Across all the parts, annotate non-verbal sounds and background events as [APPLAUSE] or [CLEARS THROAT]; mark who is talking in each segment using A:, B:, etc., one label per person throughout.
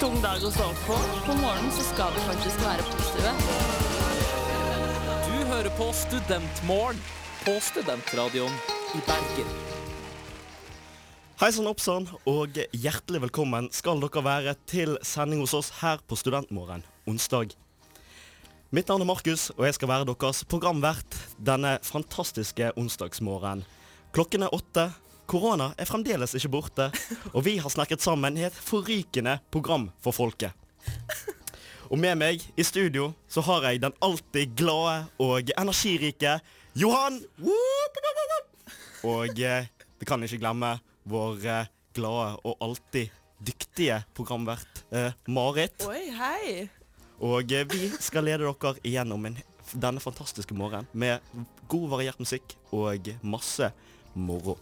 A: tung dag å stå opp på. På morgenen så skal vi faktisk være positive.
B: Du hører på Studentmorgen på Studentradioen i Bergen.
C: Hei sann, oppsann, og hjertelig velkommen skal dere være til sending hos oss her på Studentmorgen onsdag. Mitt navn er Markus, og jeg skal være deres programvert denne fantastiske onsdagsmorgenen. Klokken er åtte, korona er fremdeles ikke borte, og vi har snakket sammen i et forrykende program for folket. Og med meg i studio så har jeg den alltid glade og energirike Johan! Og eh, vi kan ikke glemme vår eh, glade og alltid dyktige programvert eh, Marit.
D: Oi, hei!
C: Og eh, vi skal lede dere igjennom en, denne fantastiske morgenen med god variert musikk og masse moro.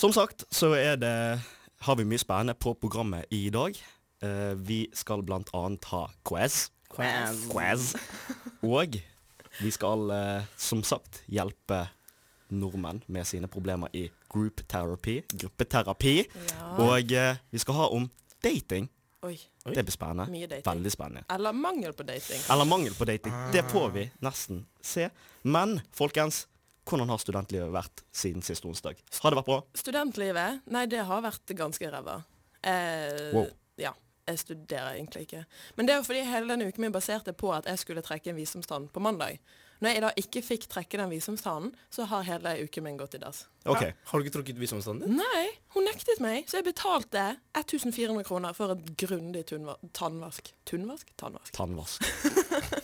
C: Som sagt så er det, har vi mye spennende på programmet i dag. Eh, vi skal blant annet ha quiz.
D: Quiz.
C: Quiz. Og vi skal eh, som sagt hjelpe nordmenn med sine problemer i group therapy, gruppeterapi. Og eh, vi skal ha om dating.
D: Oi.
C: Det blir spennende.
D: Mye dating.
C: Veldig spennende.
D: Eller mangel på dating.
C: Eller mangel på dating. Det får vi nesten se. Men folkens, hvordan har studentlivet vært siden sist onsdag? Har det vært bra?
D: Studentlivet? Nei, det har vært ganske ræva. Eh,
C: Wow.
D: Ja. Jeg studerer egentlig ikke. Men det er jo fordi hele denne uken min baserte på at jeg skulle trekke en visumstann på mandag. Når jeg da ikke fikk trekke den visumstannen, så har hele uken min gått i dass.
C: OK.
E: Hæ? Har du ikke trukket visumstanden din?
D: Nei, hun nektet meg, så jeg betalte 1400 kroner for et grundig tunva- tannvask. Tunnvask? Tannvask.
C: Tannvask.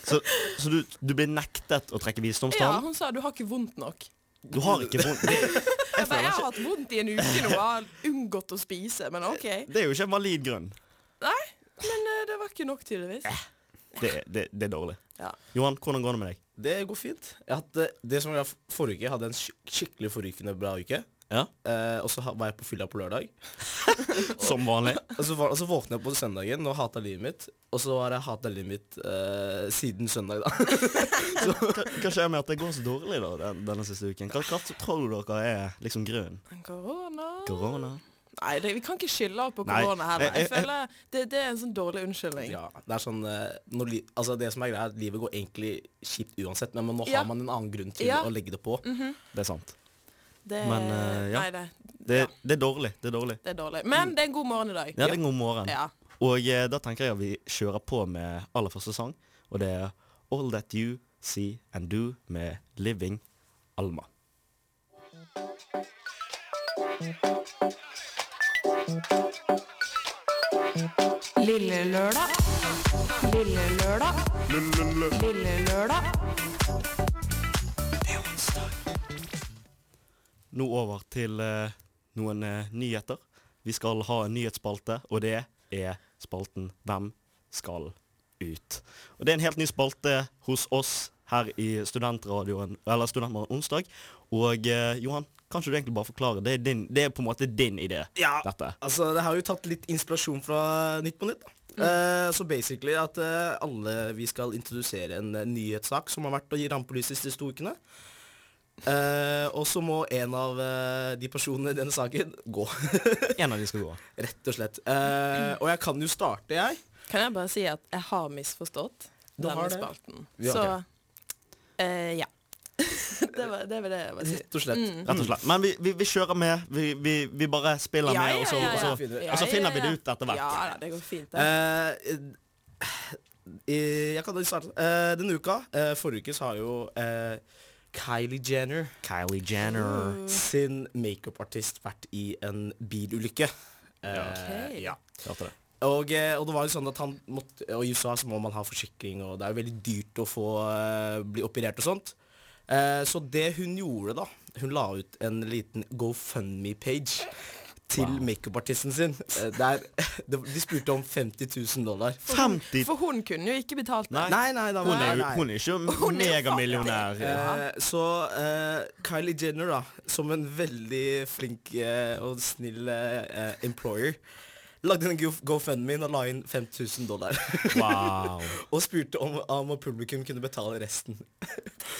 C: Så, så du, du blir nektet å trekke
D: Ja,
C: visdomstann?
D: hun sa du har ikke vondt nok.
C: Du har ikke vondt det,
D: Jeg, bare, jeg har hatt vondt i en uke nå og har unngått å spise, men OK.
C: det er jo ikke en valid grunn.
D: Nei, men eh, det var ikke nok, tydeligvis.
C: Eh. Det, det, det er dårlig.
D: Ja.
C: Johan, hvordan går det med deg?
E: Det går fint. Jeg hadde, det som var f- forrige uke, jeg hadde en skik- skikkelig forrykende bra uke.
C: Ja.
E: Eh, og så ha- var jeg på fylla på
B: [LAUGHS]
E: lørdag.
C: Som vanlig.
E: Og så, var, og så våkna jeg på søndagen og hata livet mitt. Og så har jeg hata livet mitt eh, siden søndag, da.
C: Hva skjer med at det går så dårlig da, den, denne siste uken? Hva, hva tror dere er liksom grunnen?
D: Men korona
C: Korona?
D: Nei, det, vi kan ikke skylde på
C: Nei, Eh,
D: korona heller.
C: jeg-
D: Jeg
C: jeg-
D: føler det, det er en sånn dårlig unnskyldning.
E: Ja, det er sånn eh, når li, Altså det som er greia, er at livet går egentlig kjipt uansett, men nå
D: Ja.
E: har man en annen grunn til
D: Ja. Mhm.
E: å legge det på.
C: Det er sant.
D: Det,
C: Men, eh, ja.
D: Nei, det,
C: Det,
D: Ja.
C: det er dårlig. Det er dårlig.
D: det er dårlig. Men det er en god morgen i dag.
C: Ja, det er god morgen.
D: Ja.
C: Og eh, da tenker jeg at vi kjører på med aller første sang, og det er All That You See And Do med Living Alma.
F: Lille lørdag. Lille lørdag. Lille lørdag.
C: Nå over til eh, noen eh, nyheter. Vi skal ha en nyhetsspalte, og det er spalten Hvem skal ut? Og det er en helt ny spalte hos oss her i Studentradioen, eller Studentmorgen onsdag. Og eh, Johan, kan ikke du egentlig bare forklare? Det er, din, det er på en måte din idé,
E: Ja.
C: dette.
E: Altså, det har jo tatt litt inspirasjon fra Nytt på Nytt. da.
D: Mhm.
E: Eh, så basically at eh, alle vi skal introdusere en eh, nyhetssak som har vært i rampelyset de siste to ukene. Eh, og så må en av eh, de personene i denne saken gå. [LAUGHS]
C: En av de skal gå.
E: Rett og slett. Eh, og jeg kan jo starte, jeg.
D: Kan jeg bare si at jeg har misforstått
E: Du
D: denne
E: har det.
D: spalten.
E: Ja.
D: Så eh, ja. [LAUGHS] det, var, det var det jeg var si.
E: Rett og slett.
C: Rett og slett. Men vi, vi, vi kjører med. Vi, vi, vi bare spiller
D: Mm. Ja,
C: med,
D: ja,
C: og så,
D: ja,
C: og så,
E: ja.
C: og så
D: Ja,
C: finner
D: ja,
C: vi det
D: ja.
C: ut etter hvert.
D: Ja da, det går fint. Det.
E: Eh, eh, jeg kan jo starte. Eh, denne uka, eh, forrige uke, så har jo eh, Kylie Jenner
C: Kylie Jenner.
E: sin makeupartist vært i en bilulykke. Eh,
D: Ok.
E: ja.
C: Hørte det.
E: Og, eh, og det var jo sånn at han måtte Og i USA så må man ha forsikring, og det er jo veldig dyrt å få eh, bli operert og sånt. Eh, så det hun gjorde, da Hun la ut en liten GoFundMe-page til makeupartisten sin. Eh, [LAUGHS] der, de, de spurte om 50 000 dollar.
C: 50
D: For hun kunne jo ikke betalt det.
C: Nei.
E: Nei, nei, da,
C: Hun er, jo-
E: nei.
C: hun er ikke
D: Hun er jo
C: megamillionær.
E: Eh, så eh, Kylie Jenner, da, som en veldig flink eh, og snill eh, eh, employer, lagde en Go- GoFundMe og la inn 5000 dollar.
C: Wow.
E: og spurte om, om publikum kunne betale resten.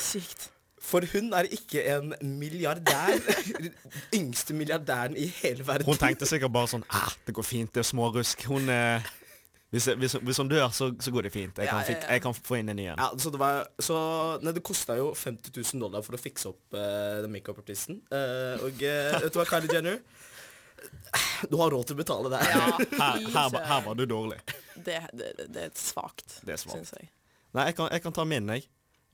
D: Sykt.
E: For hun er ikke en milliardær. [LAUGHS] Yngste milliardæren i hele verden.
C: Hun tenkte sikkert bare sånn ah, Det går fint, det er smårusk. Hun eh, hvis, hvis, hvis hun dør, så, så går det fint. Jeg kan,
E: Ja, ja,
C: fik, jeg kan få inn en ny en.
E: Ja, så det var Så Nei, det kosta jo 50 000 dollar for å fikse opp eh, den makeup-artisten. Eh, og eh, vet du hva, Kylie Jenner? Du har råd til å betale det. her.
D: Ja,
C: Her,
D: fy
C: her, var- her
D: søren.
C: var du dårlig.
D: det, det, det er svakt,
C: Det er svakt.
D: syns jeg.
C: Nei, jeg kan, jeg kan ta min, jeg.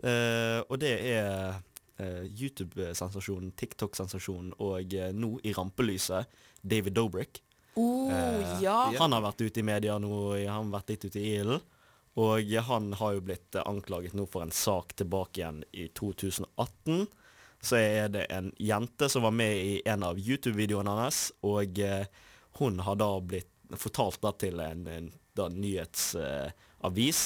C: Eh, og det er eh, YouTube-sensasjonen, TikTok-sensasjonen og eh, nå i rampelyset David Dobrik.
D: Oh,
C: Eh,
D: ja.
C: Han har vært ute i media nå, han har vært litt ute i ilden. Og han har jo blitt eh, anklaget nå for en sak tilbake igjen i 2018. Så er det en jente som var med i en av YouTube-videoene hans, og eh, hun har da blitt fortalt da til en, en da eh, nyhetsavis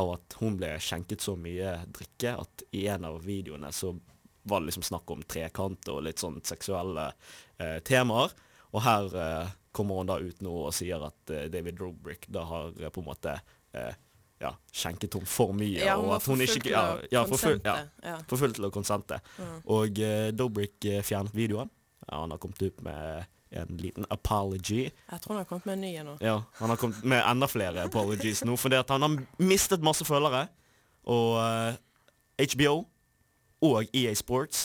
C: av at hun ble skjenket så mye drikke at i en av videoene så var det liksom snakk om trekant og litt sånn seksuelle eh, temaer. Og her eh, kommer hun da ut nå og sier at eh, David Robrick da har eh, på en måte eh, ja, skjenket henne for mye.
D: Ja,
C: og
D: var
C: at hun
D: for full
C: ikke
D: til
C: ja,
D: å
C: ja, for full, ja,
D: konsente. Mm. Ja.
C: for full til å konsente. Og eh, Dobrik eh, fjernet videoen. Ja, han har kommet ut med eh, en liten apology.
D: Jeg tror han har kommet med en ny en nå.
C: Ja, han har kommet med enda flere apologies nå, fordi at han har mistet masse følgere. Og eh, HBO og EA Sports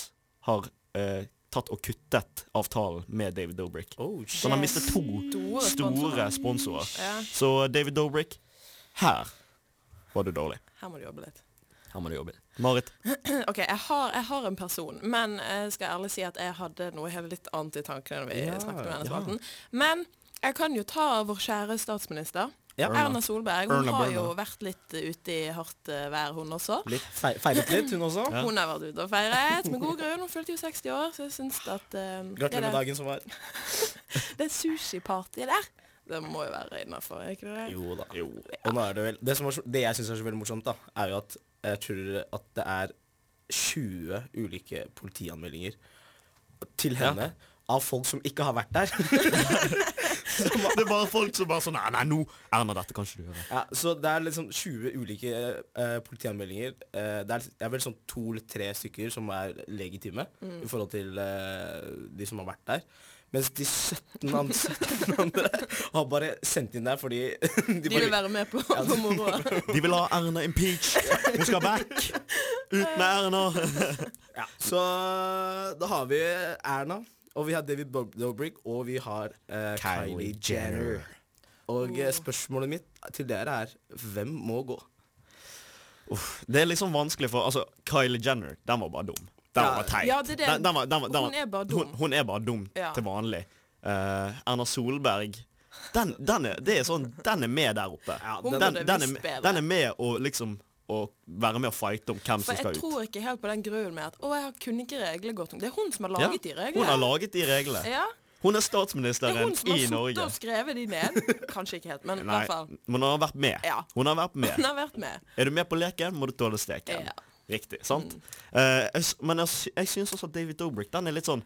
C: har eh, tatt og kuttet avtalen med David Dobrik. Så han har mistet to
D: Store
C: Oh, store
D: sponsorer.
C: sponsorer.
D: Ja,
C: Så eh, David Dobrik, her var du dårlig.
D: her må du jobbe litt. [LAUGHS]
C: Her må du jobbe. Marit,
D: OK, jeg har, jeg har en person, men jeg skal ærlig si at jeg hadde noe helt litt annet i tankene når vi
E: Ja,
D: snakket om denne
E: ja.
D: spalten. Men jeg kan jo ta vår kjære statsminister.
E: Ja.
D: Erna Solberg. Hun
C: Erna
D: har
C: Berna.
D: jo vært litt ute i hardt eh, vær, hun også.
E: Fe feiret litt, hun også.
D: Hun har vært ute og feiret med god grunn. Hun fylte jo 60 år, så jeg syns at eh, det,
E: Gratulerer med
D: der-
E: dagen som var.
D: det sushipartyet der, det må jo være innafor, er ikke det?
E: Jo da. Og nå er det vel Det, som er, så- det jeg syns er så veldig morsomt, da, er jo at jeg tror at det er 20 ulike politianmeldinger til henne av folk som ikke har vært der.
C: det er bare folk som bare sånn Nei, nei, nå Erna, dette kan ikke du gjøre.
E: [LAUGHS] Ja, så det er liksom 20 ulike eh, politianmeldinger. Eh, det, er, det er vel sånn to eller tre stykker som er legitime i forhold til eh, de som har vært der. Mens de 17 andre, [LAUGHS] 17 andre har bare sendt inn der fordi [LAUGHS] de
D: De vil
E: bare,
D: være med
C: [LAUGHS]
D: på, på moroa.
C: De vil ha Erna impeached. Hun skal vekk. Ut med Erna.
E: ja. Så da har vi Erna, og vi har David Bob- Dobrik, og vi har eh,
C: Kylie
E: Kylie Jenner. Og eh, spørsmålet mitt til dere er hvem må gå?
C: Det er liksom vanskelig for Altså, Kylie Jenner, den var bare dum. Den
E: Ja.
C: var teit.
D: Ja, det er det.
C: Den, den var, den var, den var,
D: Hun er bare dum.
C: Hun, hun er bare dum
D: Ja.
C: til vanlig. Eh, Erna Solberg den, den, er, det er sånn, den er med der oppe.
D: Hun
C: den,
D: burde
C: den, den, er,
D: visst bedre.
C: med- den er med å liksom å være med å fighte om hvem
D: For
C: som
D: jeg
C: skal ut.
D: tror ikke helt på den grunnen med at Å, jeg kunne ikke reglene godt nok. Det er hun som har
C: Ja,
D: laget de reglene.
C: Hun har laget de reglene.
D: ja.
C: Hun er
D: Det er
C: statsministeren
D: hun som har
C: i
D: sittet
C: Norge.
D: og skrevet de ned. Kanskje ikke helt, men i
C: Nei,
D: hvert fall.
C: men hun har vært med.
D: Ja.
C: Hun har vært med.
D: Hun har vært med.
C: Er du med på leken, må du tåle steken.
D: Ja. Mm.
C: Riktig. sant? Eh, jeg, s- men jeg, sy- jeg syns også at David Dobrik den er litt sånn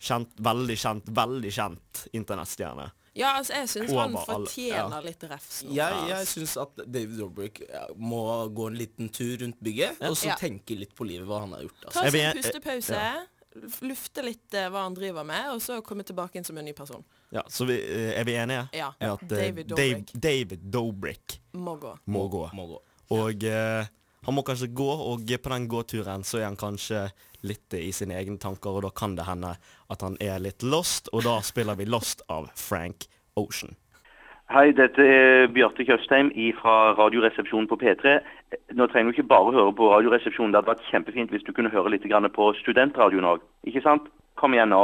C: kjent, veldig kjent, veldig kjent internettstjerne.
D: Ja, altså, jeg syns han
C: Over alle-
D: fortjener
C: ja.
D: litt refs nå.
E: Jeg, jeg syns at David Dobrik ja, må gå en liten tur rundt bygget, og så
D: Ja.
E: tenke litt på livet, hva han har gjort. Altså.
D: Ta
C: Jeg
D: seg
C: vil-
D: en pustepause. Lufte litt eh, hva han driver med, og så komme tilbake inn som en ny person.
C: Ja, så vi, eh, er vi enige?
D: Ja.
C: Med At, eh, Dave-
D: David Dobrik.
C: David Dobrik
D: Må gå.
C: må gå.
E: Må gå.
C: Og eh, han må kanskje gå, og på den gåturen så er han kanskje litt i sine egne tanker, og da kan det hende at han er litt lost, og da spiller vi Lost av Frank Ocean.
G: Hei, dette er Bjarte Tjøstheim fra Radioresepsjonen på P3. Nå trenger du ikke bare høre på Radioresepsjonen. Det hadde vært kjempefint hvis du kunne høre litt grann på studentradioen òg. Ikke sant? Kom igjen nå.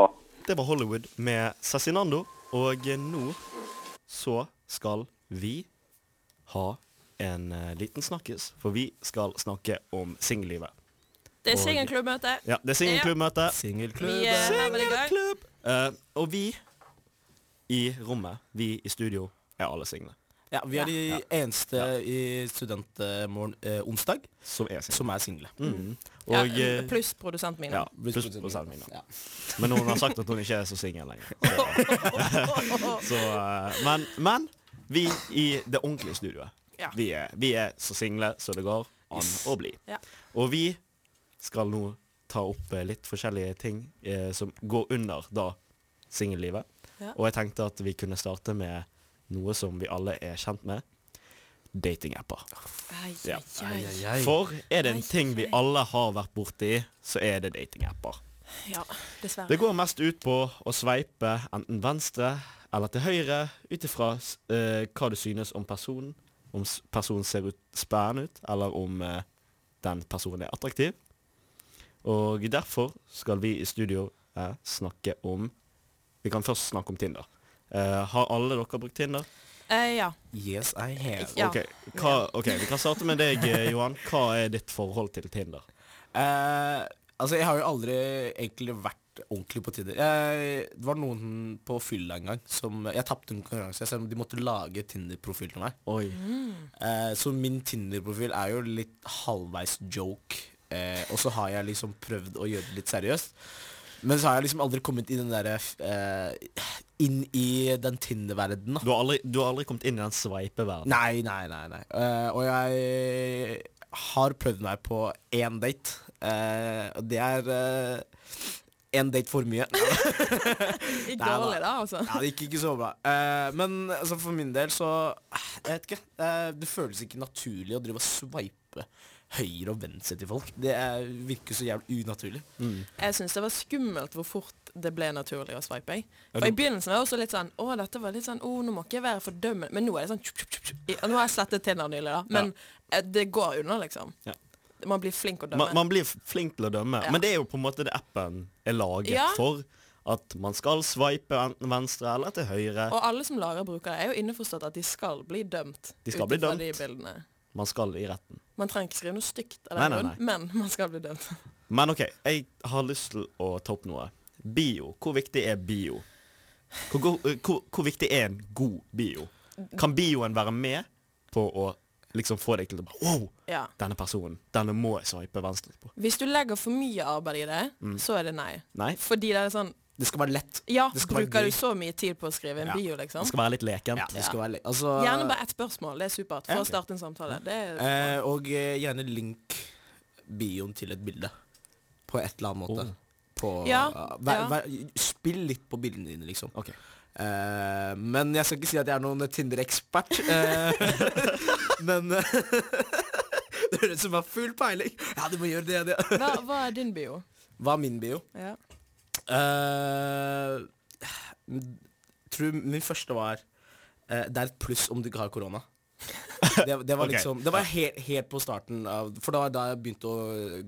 C: Det var Hollywood med Cezinando, og nå så skal vi ha en eh, liten snakkes, for vi skal snakke om singellivet.
D: Det er singelklubbmøte.
C: Ja, det er singelklubbmøte.
D: Vi eh, hever det i gang.
C: Eh, og vi i rommet, vi i studio, er alle single.
E: Ja, vi er de eneste i studentmorgen eh, onsdag
C: Som er single.
E: som er single.
D: Ja,
C: Og, eh,
D: pluss produsenten min.
C: ja,
D: [LAUGHS]
C: pluss prosenten min. da. Men hun har sagt at hun ikke er så singel lenger. Så, eh, men, men vi i det ordentlige studioet,
D: Ja.
C: vi, er, vi er så single så det går an å bli.
D: Ja.
C: Og vi skal nå ta opp eh, litt forskjellige ting eh, som går under da singellivet.
D: Ja.
C: Og jeg tenkte at vi kunne starte med noe som vi alle er kjent med. Datingapper.
D: Ai,
C: Ja.
D: ai, ai.
C: For er det en ting vi alle har vært borti, så er det datingapper.
D: Ja,
C: Det
D: dessverre.
C: går mest ut på å sveipe enten venstre eller til høyre ut ifra s- eh, hva du synes om personen. Om s- personen ser ut, spennende ut, eller om eh, den personen er attraktiv. Og derfor skal vi i studio eh, snakke om Vi kan først snakke om Tinder. Eh, har alle dere brukt Tinder?
D: Eh, ja.
E: Yes, I have.
D: Ja.
C: Ok, hva, ok, Vi kan starte med deg, eh, Johan. Hva er ditt forhold til Tinder?
E: Eh, altså, jeg har jo aldri egentlig vært ordentlig på Tinder. Jeg, det var noen på fylla en gang som Jeg tapte en konkurranse, selv om de måtte lage Tinder-profil til meg.
C: Oi.
E: Eh, så min Tinder-profil er jo litt halvveis joke. Eh, og så har jeg liksom prøvd å gjøre det litt seriøst. Men så har jeg liksom aldri kommet i den derre eh, Inn i den Tinder-verdenen, da.
C: Du har aldri, du har aldri kommet inn i den sveipeverdenen?
E: Nei, nei, nei. nei. Eh, og jeg har prøvd meg på én date. Eh, og det er én date for
D: [LAUGHS]
E: mye.
D: Ikke
E: Nei, da.
D: dårlig, da, altså.
E: Ja, det gikk ikke så bra. Eh, men altså, for min del så eh, Jeg vet ikke. eh, det føles ikke naturlig å drive og sveipe høyre og venstre til folk. Det er, virker så jævlig unaturlig.
D: Jeg syns det var skummelt hvor fort det ble naturlig å sveipe. Jeg.
C: Ja,
D: For I
C: du-
D: begynnelsen var jeg også litt sånn Å, dette var litt sånn Å, nå må ikke jeg være fordømmende. Men nå er det sånn tjup, tjup, tjup, tjup. I- Nå har jeg slettet Tinder nylig, da. Men eh, det går unna, liksom.
C: Ja.
D: Man blir flink å dømme.
C: man, man blir f- flink til å dømme,
D: Ja.
C: men det er jo på en måte det appen er laget
D: Ja.
C: for. At man skal sveipe enten venstre eller til høyre.
D: og alle som lager og bruker det, er jo innforstått at de skal bli dømt.
C: De skal bli
D: ut ifra
C: dømt.
D: De bildene.
C: Man skal i retten.
D: Man trenger ikke skrive noe stygt av
C: Nei,
D: den
C: nei,
D: grunn, men man skal bli dømt.
C: Men OK, jeg har lyst til å ta opp noe. Bio. Hvor viktig er bio? Hvor, go- eh, hvor, hvor viktig er en god bio? Kan bioen være med på å liksom få deg til å bare Wow,
D: Ja.
C: denne personen. Denne må jeg sveipe venstre på.
D: Hvis du legger for mye arbeid i det, så er det nei.
C: Mm. Nei.
D: Fordi det er sånn
E: Det skal være lett.
D: Ja,
E: Det skal være
D: bruker
E: gøy.
D: du så mye tid på å skrive en
E: Ja.
D: bio, liksom?
C: Det skal være litt lekent.
E: Ja, det skal være lett. Altså,
D: Gjerne bare ett spørsmål. Det er supert. For
E: Ja.
D: å starte en samtale. Det er
E: Eh, og eh, gjerne link bioen til et bilde. På et eller annet måte.
C: Oh.
E: På, eh,
D: Ja,
E: vær,
D: ja.
E: vær, spill litt på bildene dine, liksom.
C: Ok.
E: Eh, men jeg skal ikke si at jeg er noen Tinder-ekspert. Eh, men eh, [LAUGHS] Det høres ut som jeg har full peiling. Ja, du må gjøre det, det.
D: Hva, hva er din bio?
E: Hva er min bio?
D: Ja.
E: Eh, tror min første var eh, Det er et pluss om du ikke har korona. Det, det var
C: Ok.
E: liksom Det var helt, helt på starten av For det var da jeg begynte å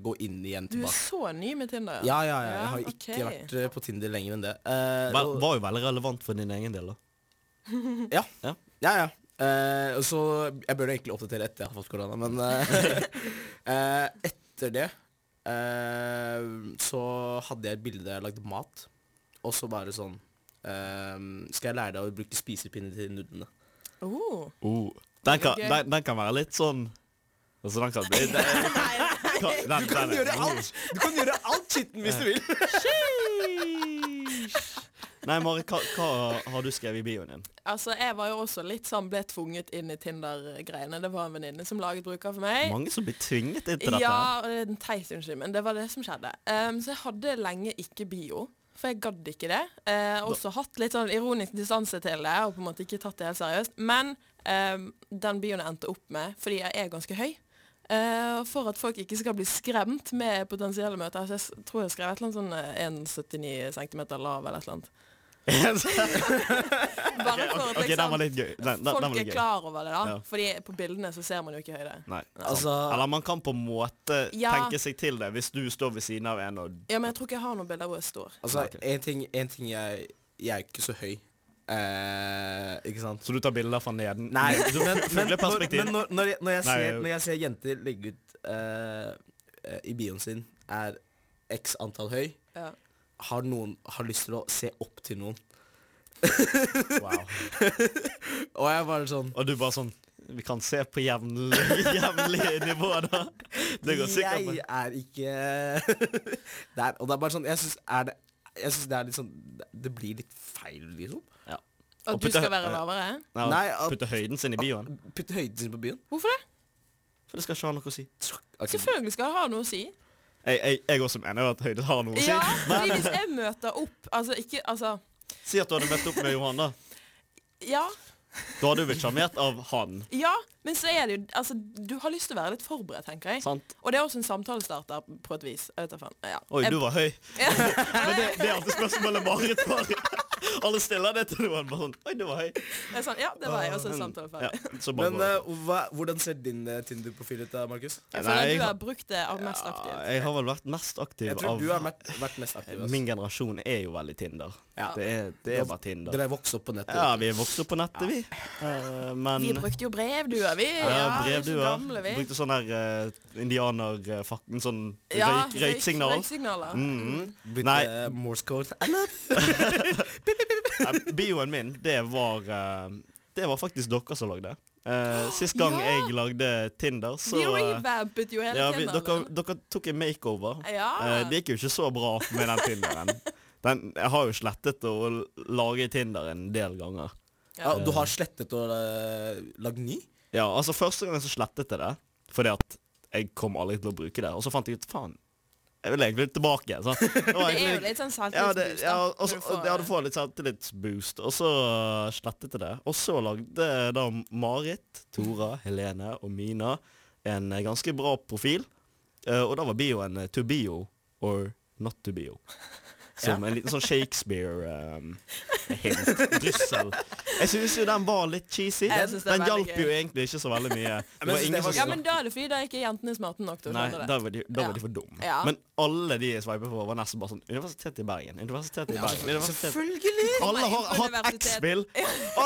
E: gå inn igjen
D: Du er
E: tilbake.
D: så ny med Tinder.
E: Ja, ja, ja. Jeg har
D: Ja,
E: jo
D: ok.
E: ikke vært eh, på Tinder lenger enn det. Eh,
C: Var,
E: og-
C: var jo veldig relevant for din egen del, da.
E: ja.
C: Ja.
E: ja, ja. Eh, og så Jeg burde egentlig oppdatere etter jeg har fått korona, men eh, [LAUGHS] eh, etter det eh, så hadde jeg et bilde der jeg lagde mat, og så bare sånn eh, Skal jeg lære deg å bruke spisepinne til nudlene?
D: Oh.
C: Oh. Den, kan,
D: Gøy.
C: den, den kan være litt sånn Altså, den kan bli den, den, den, er-
E: alt! Du kan gjøre alt skitten hvis du vil.
C: Nei, Mari, hva, hva har du skrevet i bioen din?
D: Altså, jeg var jo også litt sånn ble tvunget inn i Tinder-greiene. Det var en venninne som laget bruker for meg.
C: Mange som blir tvunget inn til dette. [LAUGHS] her.
D: Eh, Ja, og det er en teit unnskyld, men det var det som skjedde. Ehm, så jeg hadde lenge ikke bio, for jeg gadd ikke det. Uh, også hatt litt sånn ironisk distanse til det, og på en måte ikke tatt det helt seriøst. Men ehm, den bioen jeg endte opp med, fordi jeg er ganske høy, eh, for at folk ikke skal bli skremt med potensielle møter. Så jeg s- tror jeg skrev et eller annet sånn eh, 1,79 cm lav eller et eller annet. Bare for at
C: ok, den var
D: liksom,
C: litt gøy. Den, den, den var
D: folk
C: litt
D: er
C: gøy.
D: klar over det, da.
C: Ja.
D: Fordi på bildene så ser man jo ikke høyde.
C: Nei, sant.
E: Altså-
C: Eller man kan på en måte
D: Ja.
C: tenke seg til det hvis du står ved siden av en og
D: Ja, men jeg tror ikke jeg har noen bilder hvor jeg står.
E: Altså,
C: Ok.
E: en ting, en ting jeg Jeg er ikke så høy. Eh, ikke sant?
C: Så du tar bilder fra neden? [LAUGHS]
E: Nei,
C: du,
E: men, men, når,
C: fugleperspektiv.
E: men når, når, jeg, når, jeg
C: Nei,
E: ser,
C: jo.
E: når jeg ser jenter legge ut eh, eh, i bioen sin er x antall høy,
D: Ja.
E: har noen har lyst til å se opp til noen.
C: Wow.
E: Og jeg bare sånn
C: Og du bare sånn Vi kan se på jevnlig, [LAUGHS] jevnlig nivå, da. Det går sikkert.
E: Jeg
C: men-
E: er ikke [LAUGHS] der. Og det er bare sånn Jeg syns det, jeg synes det er litt sånn Det blir litt feil, liksom.
D: At
C: Og
D: du
C: putte-
D: skal være lavere?
C: Nei,
E: Nei, at-
C: putte høyden sin i bioen.
E: Putte høyden sin på byen.
D: Hvorfor det?
C: For det skal ikke ha noe å si.
E: Ok,
D: Selvfølgelig skal det ha noe å si.
C: Jeg, jeg, jeg også mener jo at høyde har noe å si. [LAUGHS]
D: Ja, fordi hvis jeg møter opp Altså, ikke Altså,
C: Si at du hadde møtt opp med Johan, da.
D: ja.
C: Da hadde du blitt sjarmert av han.
D: Ja, men så er det jo Altså, du har lyst til å være litt forberedt, tenker jeg.
C: Sant?
D: Og det er også en samtalestarter på et vis. Jeg vet da faen. Ja.
C: Oi,
D: Jeg- [LAUGHS]
C: du var høy.
D: Ja.
C: [LAUGHS] Men det, det er alltid spørsmålet Marit får. Alle stiller det til noen. Bare sånn, Oi, du var høy.
D: Det er sånn, ja, det var jeg, og så er samtalen
C: Ah, Ja,
D: ferdig.
C: så bare,
E: Men eh, hva, hvordan ser din eh, Tinder-profil ut, da, Markus?
D: [LAUGHS]
C: Nei,
D: Jeg føler
C: jeg
D: at du
C: har-
D: har brukt det av mest aktivt.
C: jeg har vel vært mest aktiv
E: Jeg tror
C: av
E: du har vært, vært mest aktiv. ass.
C: Min generasjon er jo veldig Tinder.
E: Ja.
C: Det, er, det er bare Tinder.
E: Dere vokste opp på nettet.
C: Ja, vi er vokst opp på nettet, vi. Eh, men
D: Vi brukte jo brevduer, vi.
C: ja,
D: vi er så
C: brevduer.
D: gamle, vi.
C: Brukte sånn der eh, indianerfakten, sånn
D: Ja,
C: røyk, røyksignal.
D: Røyksignaler.
C: Mhm.
E: Bytte
C: Nei.
E: eh, Morse code.
C: Nei, Bioen min, det var eh, Det var faktisk dere som lagde. Eh, sist gang
D: Ja!
C: jeg lagde Tinder, så
D: vi
C: eh,
D: revampet jo hele
C: ja, vi,
D: tiden.
C: dere, dere tok en makeover.
D: Ja.
C: Eh, det gikk jo ikke så bra med den Tinderen. Den, jeg har jo slettet og laget Tinder en del ganger.
E: Ja, du har slettet og eh, lagd ny?
C: Ja, altså Første gangen så slettet jeg det, fordi at jeg kom aldri til å bruke det. Og så fant jeg ut faen, jeg vil egentlig tilbake.
D: [LAUGHS]
C: Så. Det, var
D: Det er jo
C: egentlig-
D: litt sånn
C: ja, det,
D: selvtillitsboost.
C: ja,
D: da,
C: og
D: når
C: så-
D: du får-
C: ja, du får litt selvtillitsboost, og så eh, slettet jeg det. Og så lagde eh, da Marit, Tora, Helene og Mina en eh, ganske bra profil. Eh, Og da var bioen eh, 'to bio or not to bio'.
D: [LAUGHS]
C: Som en liten sånn Shakespeare-hint. Dryssel. Jeg syns jo den var litt cheesy.
D: Jeg
C: Den,
D: synes
C: den
D: det er veldig
C: hjalp jo
D: gøy.
C: egentlig ikke så
D: [LAUGHS]
C: veldig mye. Det
E: men
C: var
E: jeg synes
C: ingen
E: det var
C: som
D: Ja, men da er det fordi da er ikke jentene smarte nok til å
C: Nei,
D: skjønne
C: da
D: det.
C: var de, da var
D: Ja.
C: de for dumme.
D: Ja.
C: Men alle de jeg sveipet på, var nesten bare sånn Universitetet i Bergen. Universitetet i Bergen. Universitetet.
E: Selvfølgelig!
C: Alle har
D: Kommer inn på
C: hatt
D: universitet.
C: X-spill!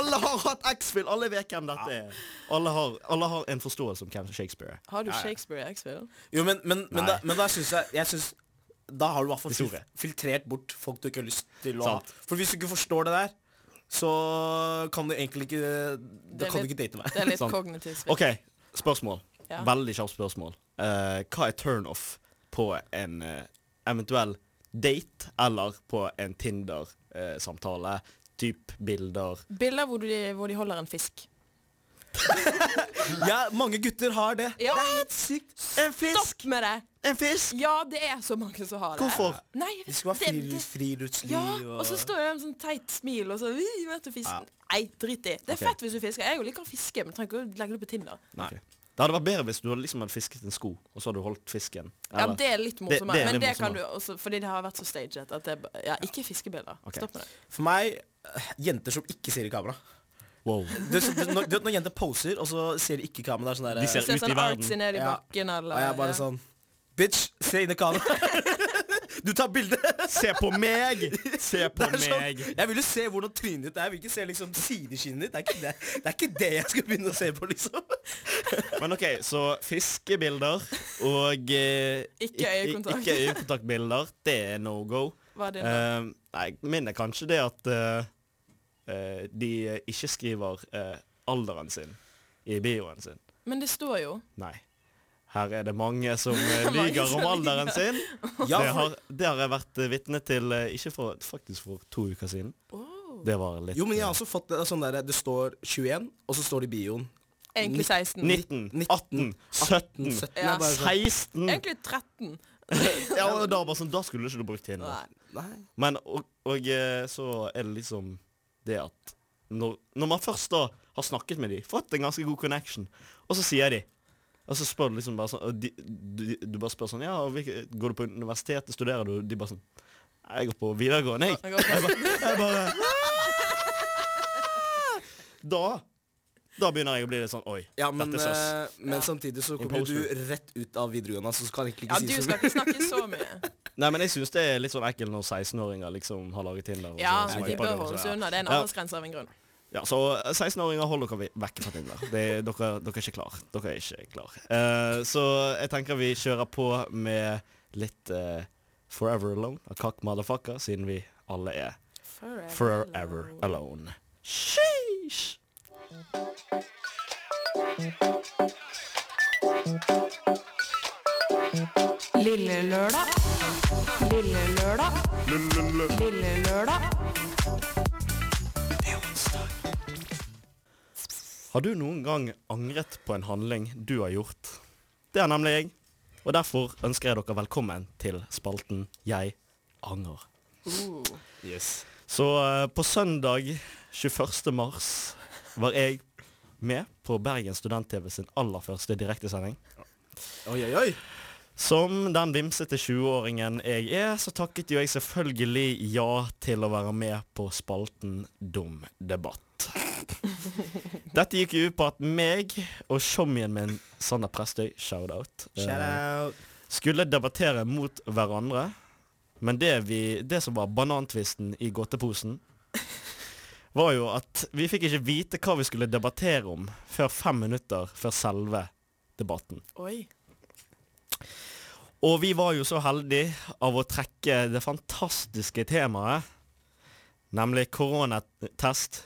C: Alle har hatt X-spill! Alle vet hvem dette er. Alle har, alle har en forståelse om hvem Shakespeare er.
D: Har du Shakespeare i X-Fill?
E: Jo, men, men, men
C: Nei.
E: da, men da syns jeg, jeg synes, Da har du i hvert fall fil
C: Historie.
E: filtrert bort folk du ikke har lyst til å ha.
C: Sant.
E: For hvis du ikke forstår det der, så kan du egentlig ikke Da
D: er
E: kan du
D: litt-
E: ikke date meg.
D: Det er litt
C: Sånn.
E: Sant.
D: kognitivt spill.
C: OK, spørsmål.
D: Ja.
C: Veldig kjapt spørsmål. Eh, hva er turnoff på en eh, eventuell date eller på en Tinder-samtale? Typ bilder.
D: Bilder hvor de, hvor de holder en fisk.
E: Ja, mange gutter har det.
D: Ja.
E: Det er helt sykt.
C: En
D: Stopp med det!
C: En fisk!
D: Ja, det er så mange som har det.
C: Hvorfor?
D: Nei, jeg
E: Det
D: vet-
E: skal være
D: det-
E: fri, friluftsliv
D: Ja, og så står jeg med sånn teit smil og så vi vet du fisken. Nei, drit i. Det er
C: Ok.
D: fett hvis du fisker. Jeg liker å fiske, men trenger ikke å legge det på Tinder.
C: Nei. Det hadde vært bedre hvis du hadde liksom hadde fisket en sko, og så hadde du holdt fisken.
D: Ja,
C: Eller-
D: det er litt morsommere,
C: det er litt
D: men det kan du
C: morsommere.
D: også Fordi det har vært så staged at det Ja, ikke fiskebilder.
C: Ok.
D: Stopp med det.
E: For meg eh, jenter som ikke ser i kamera.
C: Wow.
E: Du, vet- du, vet når, du vet når jenter poser, og så ser de ikke i kamera. Det er sånn der,
C: De ser
E: eh,
D: Se
C: ut i
D: sånn
C: verden.
D: artsy ned i
E: Ja.
D: bakken eller
E: Og jeg er bare sånn Bitch, se inn i kamera. [LAUGHS] Du tar bilde.
C: Se på
D: [LAUGHS]
C: meg! Se på
E: Det er sånn,
C: meg!
E: jeg vil jo se hvordan trynet ditt er. Jeg vil ikke se liksom sideskinnet ditt. Det er, ikke det, det er ikke det jeg skal begynne å se på,
C: [LAUGHS]
E: liksom.
C: Men OK, så fiskebilder og eh,
D: Ikke
C: ik-
D: øyekontakt.
C: Ikke øyekontaktbilder. Det er no go.
D: Hva er din da?
C: Eh, nei, min er kanskje det at eh, eh, de ikke skriver eh, alderen sin i bioen sin.
D: Men det står jo.
C: Nei. Her er det mange som eh,
D: [LAUGHS] Mange
C: lyger
D: som
C: om alderen sin.
E: Ja,
C: det,
E: for,
C: har, det har jeg vært eh, vitne til eh, ikke for, faktisk for to uker siden. Det var litt eh,
E: jo, men jeg har også fått det sånn der Det står 21, og så står det i bioen.
D: Egentlig 16.
C: 19,
E: 19,
C: 18, 17,
E: 17
D: Ja.
E: Jeg bare sånn,
C: 16
D: Egentlig
C: [LAUGHS]
D: 13.
C: Ja, og da, bare sånn, da skulle du ikke brukt Tinder.
D: Nei.
E: Nei.
C: Men og, og eh, så er det liksom det at når, når man først da har snakket med de, fått en ganske god connection, og så sier de Og så spør du liksom bare sånn og de, du, du bare spør sånn Ja, og hvilke, går du på universitetet, studerer du? De bare sånn «Nei, Jeg går på videregående, jeg.
D: Jeg går på-
C: jeg bare Da Da begynner jeg å bli litt sånn Oi,
E: Ja, men,
C: dette er søs.
E: eh, men samtidig så kommer
C: Imposter.
E: du rett ut av videregående, så du kan egentlig
D: Ja,
E: ikke
D: du
E: si så
D: skal ikke snakke så
C: [LAUGHS]
D: mye.
C: Nei, men jeg syns det er litt sånn ekkelt når 16-åringer liksom har laget Tinder. og sånn, så
D: Ja,
C: swiper
D: de bør
C: det, og så-
D: holde seg unna. Det er en
C: Ja.
D: aldersgrense av en grunn.
C: Ja, så 16-åringer, hold dere ve- vekk fra Tinder. Det, dere, dere er ikke klar. Dere er ikke klar. Eh, så jeg tenker vi kjører på med litt eh, Forever Alone av Kakk Motherfucker, siden vi alle er forever alone. Sheesh!
F: Lille lørdag. Lille lørdag. Lille lørdag.
C: Har du noen gang angret på en handling du har gjort? Det har nemlig jeg. Og derfor ønsker jeg dere velkommen til spalten Jeg angrer.
E: Yes.
C: Så eh, på søndag 21. mars var jeg med på Bergen Student-TV sin aller første direktesending.
E: Oi, oi, oi.
C: Som den vimsete 20-åringen jeg er, så takket jo jeg selvfølgelig ja til å være med på spalten Dum debatt. Dette gikk jo ut på at meg og showmien min, Sander Prestøy, shout-out, eh,
E: Shout-out.
C: skulle debattere mot hverandre. Men det, vi, det som var banantvisten i godteposen, var jo at vi fikk ikke vite hva vi skulle debattere om før fem minutter før selve debatten.
D: Oi.
C: Og vi var jo så heldige av å trekke det fantastiske temaet, nemlig koronatest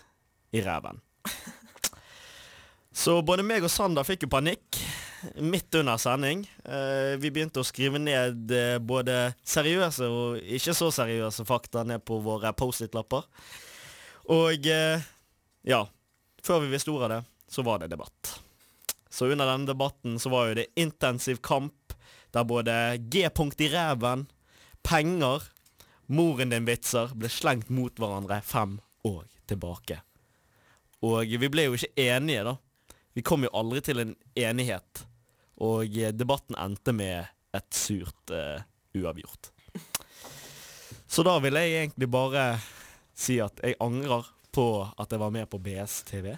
C: i ræven. Så både meg og Sander fikk jo panikk midt under sending. Eh, vi begynte å skrive ned eh, både seriøse og ikke så seriøse fakta ned på våre Post-It-lapper. Og eh, ja, før vi visste ordet av det, så var det debatt. Så under denne debatten så var jo det intensiv kamp, der både G-punkt i ræven, penger, moren din-vitser ble slengt mot hverandre fem år tilbake. Og vi ble jo ikke enige, da. Vi kom jo aldri til en enighet. Og eh, debatten endte med et surt eh, uavgjort. Så da vil jeg egentlig bare si at jeg angrer på at jeg var med på BSTV.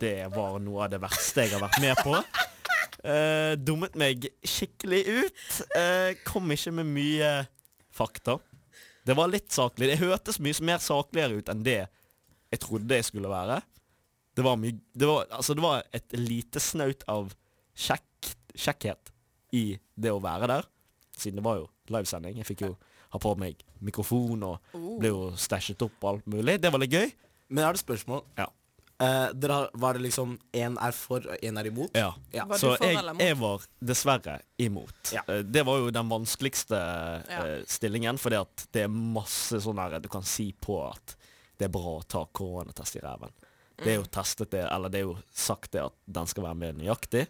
C: Det var noe av det verste jeg har vært med på. Eh, dummet meg skikkelig ut. Eh, kom ikke med mye fakta. Det var litt saklig. Det hørtes mye mer sakligere ut enn det jeg trodde jeg skulle være. Det var, mye, det var, altså det var et lite snaut av kjekk, kjekkhet i det å være der. Siden det var jo livesending. Jeg fikk jo ha på meg mikrofon og ble jo stæsjet opp og alt mulig. Det var litt gøy.
E: Men jeg har et spørsmål.
C: Ja.
E: Eh, dere har, var det liksom én er for og én er imot?
C: Ja.
E: Ja.
D: Var
C: Så
D: du for
C: jeg,
D: eller mot?
C: jeg var dessverre imot.
E: Ja.
C: Eh, Det var jo den vanskeligste
D: Ja.
C: eh, stillingen, fordi at det er masse sånn her du kan si på at det er bra å ta koronatest i ræven. Det er
D: Mm.
C: jo testet det, eller det er jo sagt det at den skal være mer nøyaktig.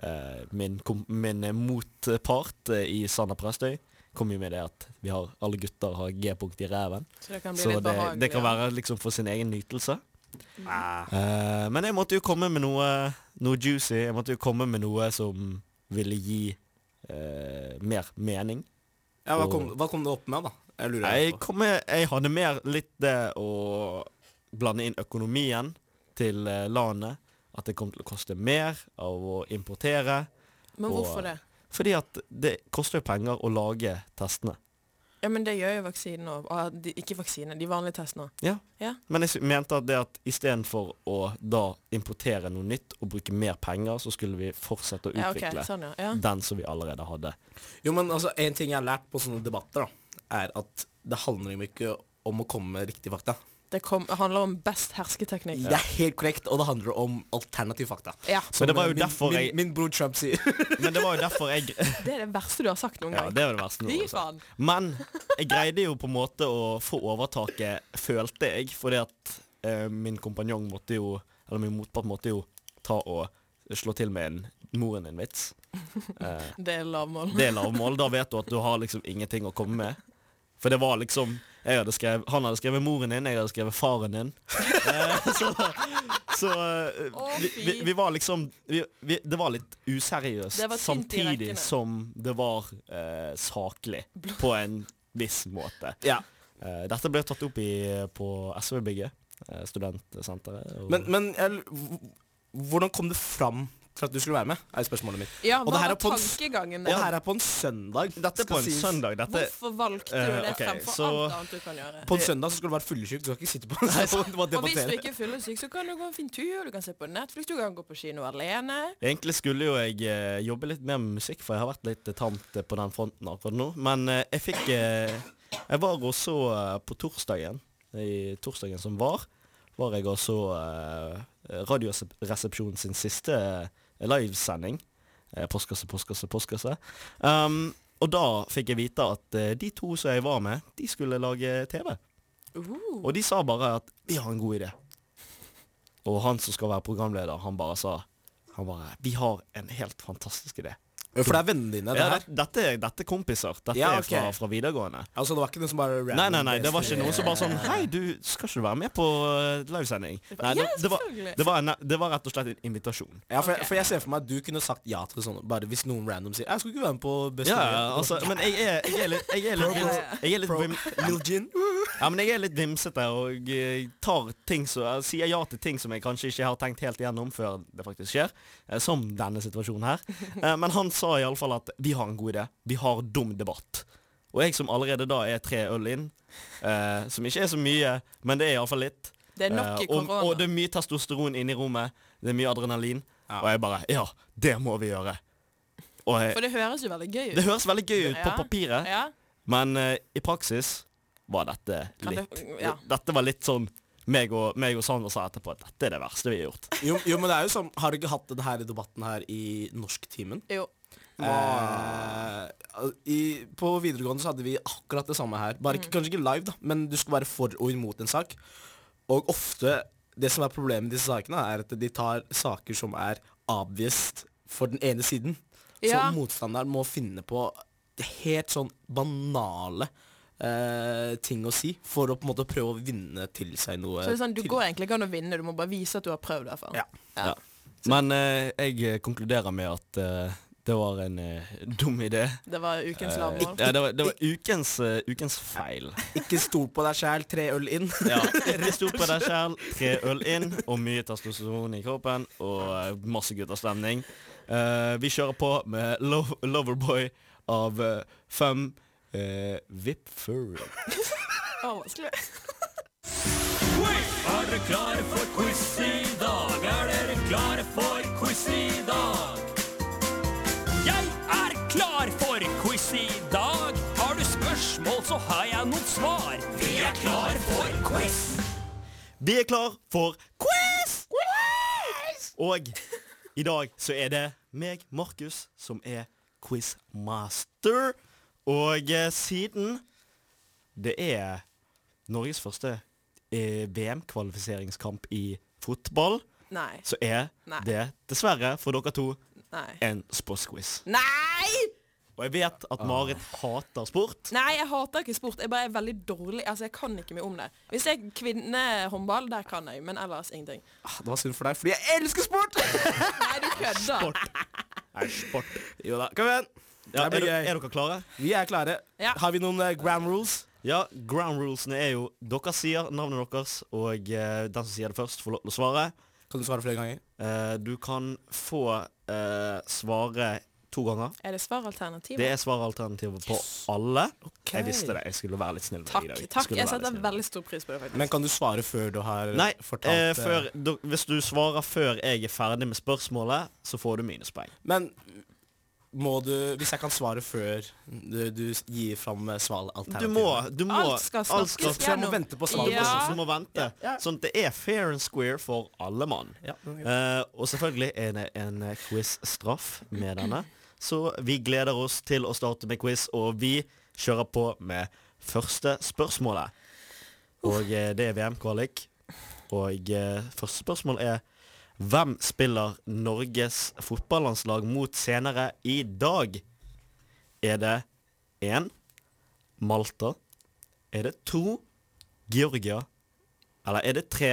C: Eh, Min, kom- min eh, motpart eh, i Sander Prestøy kom jo med det at vi har, alle gutter har G-punkt i ræven.
D: Så det kan bli
C: Så
D: litt
C: det,
D: behagelig.
C: det kan være liksom for sin egen nytelse. Eh, men jeg måtte jo komme med noe, noe juicy. Jeg måtte jo komme med noe som ville gi eh, mer mening.
E: Ja, hva, kom, hva kom du opp med, da? Jeg lurer
C: Jeg,
E: på.
C: kom med, jeg hadde mer litt det å blande inn økonomien til eh, landet. At det kom til å koste mer av å importere.
D: Men hvorfor det?
C: Fordi at det koster jo penger å lage testene.
D: Ja, men det gjør jo vaksinen òg. Ah, de- ikke vaksine, de vanlige testene.
C: Ja.
D: Ja.
C: Men jeg sy- mente at det at istedenfor å da importere noe nytt og bruke mer penger, så skulle vi fortsette å
D: Ja, ok,
C: utvikle
D: sånn, ja. ja.
C: den som vi allerede hadde.
E: Jo, men altså, En ting jeg har lært på sånne debatter, da, er at det handler jo ikke om å komme med riktige fakta.
D: Det kom, handler om best hersketeknikk.
E: Det er helt korrekt, og det handler om alternative fakta.
D: Ja,
C: Men det var jo
E: min,
C: derfor
E: min,
C: jeg-
E: min bror
C: [LAUGHS]
E: Trump sier
C: Men det var jo derfor jeg
D: [LAUGHS] Det er det verste du har sagt noen
C: Ja,
D: gang.
C: det var det verste. noen
D: Fy
C: gang.
D: faen.
C: Men jeg greide jo på en måte å få overtaket, følte jeg, fordi at eh, min kompanjong måtte jo Eller min motpart måtte jo ta og slå til med en moren din-vits. Eh,
D: Det er lavmål.
C: det er lavmål. Da vet du at du har liksom ingenting å komme med. For det var liksom jeg hadde skrevet, Han hadde skrevet moren din, jeg hadde skrevet faren din. Eh, [LAUGHS] så så eh,
D: Å,
C: vi, vi,
D: fy.
C: vi var liksom vi, vi, Det var litt useriøst
D: Det var tynt i
C: samtidig
D: rekkene.
C: som det var eh, saklig på en viss måte.
E: ja.
C: Eh, dette ble tatt opp i, på SV-bygget, eh, studentsenteret. og-
E: Men, men jeg, l- hvordan kom du fram til at du skulle være med? Er spørsmålet mitt.
D: Ja,
E: Og det
D: hva
E: her
D: var
E: er på en-
D: tankegangen
E: Og det
D: der?
E: her er på en søndag.
C: dette er
E: skal
C: på en
E: sies.
C: søndag. Dette,
D: Hvorfor valgte du
C: Eh,
D: det
C: ok,
D: fremfor
C: så-
D: alt annet du kan gjøre?
E: På en søndag så skal du være fyllesyk. Du skal ikke sitte på en
C: [LAUGHS]
E: sånn og
D: Og hvis du
E: debattere.
D: ikke er fyllesyk, så kan du gå en fin tur, du kan se på Netflix, du kan gå på kino alene.
C: Egentlig skulle jo jeg eh, jobbe litt mer med musikk, for jeg har vært litt eh, tamt eh, på den fronten akkurat nå. Men eh, jeg fikk eh, Jeg var også eh, på torsdagen, i torsdagen som var, var jeg også eh, Radioresepsjonen sin siste eh, livesending. Eh, postkasse, postkasse, postkasse. Um, og da fikk jeg vite at eh, de to som jeg var med, de skulle lage TV.
D: Uh,
C: Og de sa bare at vi har en god idé. Og han som skal være programleder, han bare sa Han bare Vi har en helt fantastisk idé.
E: For det er vennene dine, det
C: Ja,
E: her.
C: det, dette, er- dette er kompiser. Dette
E: Ja,
C: er fra,
E: ok.
C: fra videregående.
E: Altså, det var ikke noe som bare
C: Nei, nei, nei, det var ikke noen som bare sånn Hei, du, skal ikke du være med på eh, livesending? Nei, det, det, var,
D: selvfølgelig.
C: det, var en, det var rett og slett en invitasjon.
E: Ja, for, jeg, for jeg ser for meg at du kunne sagt ja til sånn Bare hvis noen random sier 'Jeg skulle ikke være med på Best
C: Ja, altså, men jeg er, jeg er litt Jeg er litt, jeg er litt, vim,
E: Lil Gin.
C: ja, men jeg er litt vimsete og eh, tar ting som, eh, sier ja til ting som jeg kanskje ikke har tenkt helt igjennom før det faktisk skjer. eh, Som denne situasjonen
D: [LAUGHS]
C: her. Eh, Men han sa iallfall at vi har en god idé. Vi har dum debatt. Og jeg som allerede da er tre øl inn, eh, som ikke er så mye, men det er iallfall litt.
D: Det er nok i
C: Eh, og,
D: korona.
C: og det er mye testosteron inne i rommet. Det er mye adrenalin. Og jeg bare Ja, det må vi gjøre. Og jeg,
D: For det høres jo veldig gøy ut.
C: det høres veldig gøy ut på
D: Ja.
C: papiret,
D: Ja.
C: men eh, i praksis var dette
D: Kan
C: litt
D: det- ja.
C: Dette var litt sånn meg og, meg og Sander sa etterpå at dette er det verste vi har gjort.
D: [LAUGHS]
E: Jo, jo, men det er jo sånn Har du ikke hatt den her debatten her i norsktimen?
D: Jo.
E: Eh, i, på videregående så hadde vi akkurat det samme her. Bare
D: Mm.
E: ikke, Kanskje ikke live, da, men du skulle være for og imot en sak. Og ofte Det som er problemet med disse sakene, er at de tar saker som er obvious for den ene siden.
D: Ja.
E: Så motstanderen må finne på helt sånn banale eh, ting å si for å på en måte prøve å vinne til seg noe.
D: Så det er sånn, du
E: til-
D: går egentlig ikke an å vinne, du må bare vise at du har prøvd. i hvert fall.
E: Ja.
D: Ja.
C: Men eh, jeg eh, konkluderer med at eh, det var en eh, dum idé.
D: Det var ukens
C: Eh,
D: lavmål.
C: ja, det var, det var ukens, eh, ukens
D: [LAUGHS]
C: feil.
E: Ikke stol på deg sjæl, tre øl inn. [LAUGHS]
C: Ja, Rist opp på deg sjæl, tre øl inn og mye testosteron i kroppen og eh, masse gutterstemning. Eh, vi kjører på med Lo Loverboy av eh, Fem uh, Vip Furry.
D: Å, vanskelig.
B: Er dere klare for quiz i dag? Er dere klare for quiz i dag? Jeg er klar for quiz i dag. Har du spørsmål, så har jeg noen svar. Vi er klar for quiz.
C: Vi er klar for quiz! Og i dag så er det meg, Markus, som er quizmaster. Og eh, siden det er Norges første eh, VM-kvalifiseringskamp i fotball,
D: Nei.
C: så er
D: Nei.
C: det dessverre for dere to
D: Nei.
C: en sportsquiz.
D: Nei!
C: Og jeg vet at Marit hater
D: [LAUGHS]
C: sport.
D: Nei, jeg hater ikke sport. Jeg bare er veldig dårlig. Altså, Jeg kan ikke mye om det. Hvis det er kvinnehåndball, der kan jeg, men ellers ingenting.
E: Ah, Det var synd for deg, fordi jeg elsker sport!
D: [LAUGHS] Nei, du kødder.
C: Er sport.
E: Jo da, kom igjen.
C: Ja,
E: Det
C: er,
E: blir
C: dere-
E: gøy.
C: er dere klare?
E: Vi er klare.
D: Ja.
E: Har vi noen eh, gram rules?
C: Ja, ground rulesene er jo Dere sier navnet deres, og eh, den som sier det først, får lov til å svare.
E: Kan du svare flere ganger?
C: Eh, du kan få eh, svare to ganger.
D: Er det svaralternativ?
C: Det er svaralternativet på alle.
E: Ok.
C: Jeg visste det. Jeg skulle være litt snill med deg
D: Takk.
C: i dag.
D: takk.
C: Skulle være
D: Jeg
C: litt
D: setter
C: snill.
D: veldig stor pris på det, faktisk.
E: Men kan du svare før du har
C: Nei,
E: fortalt
C: eh,
E: eh,
C: før, du, hvis du svarer før jeg er ferdig med spørsmålet, så får du minuspoeng.
E: Men må du Hvis jeg kan svare før du, du gir fram eh,
C: Du
E: svalalternativet
C: må, du må
D: Alt skal snakkes
E: Så jeg må
D: Gjennom.
E: vente på
C: Alle
E: svaret?
D: Ja.
C: som må vente. Sånn at det er fair and square for alle mann.
E: Ja.
C: Eh, og selvfølgelig er det en eh, quiz-straff med denne. Så vi gleder oss til å starte med quiz, og vi kjører på med første spørsmålet. Og eh, det er VM-kvalik. Og eh, første spørsmål er Hvem spiller Norges fotballandslag mot senere i dag? Er det én Malta? Er det to Georgia? Eller er det tre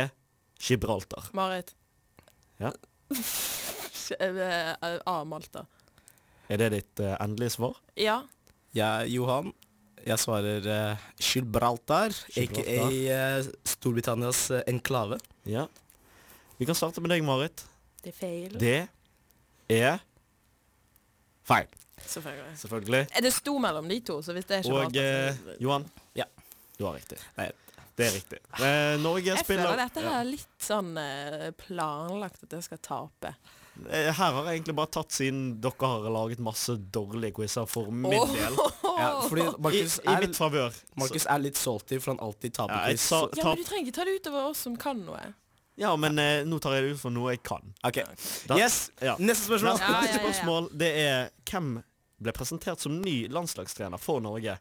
C: Gibraltar?
D: Marit.
C: Ja.
D: [LAUGHS] Eh, eh, A. Malta.
C: Er det ditt eh, endelige svar?
D: Ja.
E: Jeg, Johan, jeg svarer eh, Gibraltar, aka eh, Storbritannias eh, enklave.
C: Ja. Vi kan starte med deg, Marit.
D: Det er feil.
C: Det er feil,
D: Selvfølgelig.
C: selvfølgelig.
D: Eh, Det sto mellom de to, så hvis det er ikke
C: Og eh, Johan,
E: Ja.
C: du har riktig.
E: Nei.
C: Det er riktig. Eh, Norge
D: Jeg
C: spiller
D: føler dette her er litt sånn eh, planlagt at jeg skal tape.
C: Eh, Her har jeg egentlig bare tatt siden dere har laget masse dårlige quizer for min
D: Åh.
C: [LAUGHS] del.
E: Ja, fordi
C: I,
E: Markus
C: I
E: er,
C: mitt favør. Så-
E: Markus er litt salty, for han alltid taper
C: Ja, jeg
E: quiz.
C: sa,
D: Ja,
C: tap,
D: men du trenger ikke ta det utover oss som kan noe.
C: ja, men eh, nå tar jeg det ut for noe jeg kan.
E: Ok.
C: Da-
E: Yes!
C: Ja.
E: Neste spørsmål.
C: Neste
D: Ja, ja, ja, ja.
C: spørsmål det er hvem ble presentert som ny landslagstrener for Norge?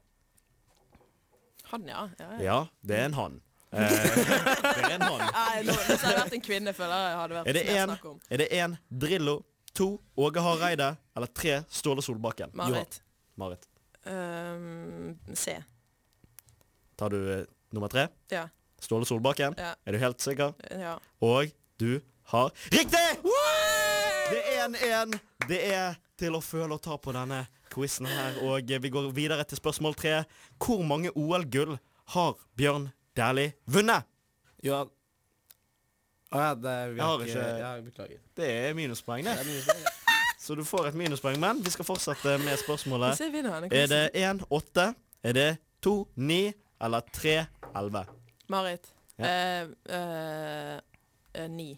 D: Han, ja. ja, ja.
C: Ja, det er en
D: [LAUGHS]
C: han. Eh, det er en han.
D: Nei, nå, hvis jeg hadde vært en kvinne, føler jeg hadde vært
C: Er det
D: mer
C: en,
D: snakk om.
C: er det en Drillo? to Åge Hareide eller tre Ståle Solbakken?
D: Marit.
C: Jo, Marit.
D: Ehm, C.
C: Tar du eh, nummer tre?
D: Ja.
C: Ståle Solbakken?
D: Ja.
C: Er du helt sikker?
D: ja.
C: Og du har riktig! Det er en én. Det er til å føle og ta på denne quizen her. Og eh, vi går videre til spørsmål tre. Hvor mange OL-gull har Bjørn Dæhlie vunnet?
E: Jo, ja. Å ja, det vi
C: Jeg har
E: ikke
C: ikke-
E: Ja, beklager.
C: Det er minuspoeng, det. Så du får et minuspoeng, men vi skal fortsette med spørsmålet.
D: Se vinneren.
C: Er det 1-8? Er det 2-9? Eller 3-11?
D: Marit.
C: Ja.
D: Eh, eh, eh, ni.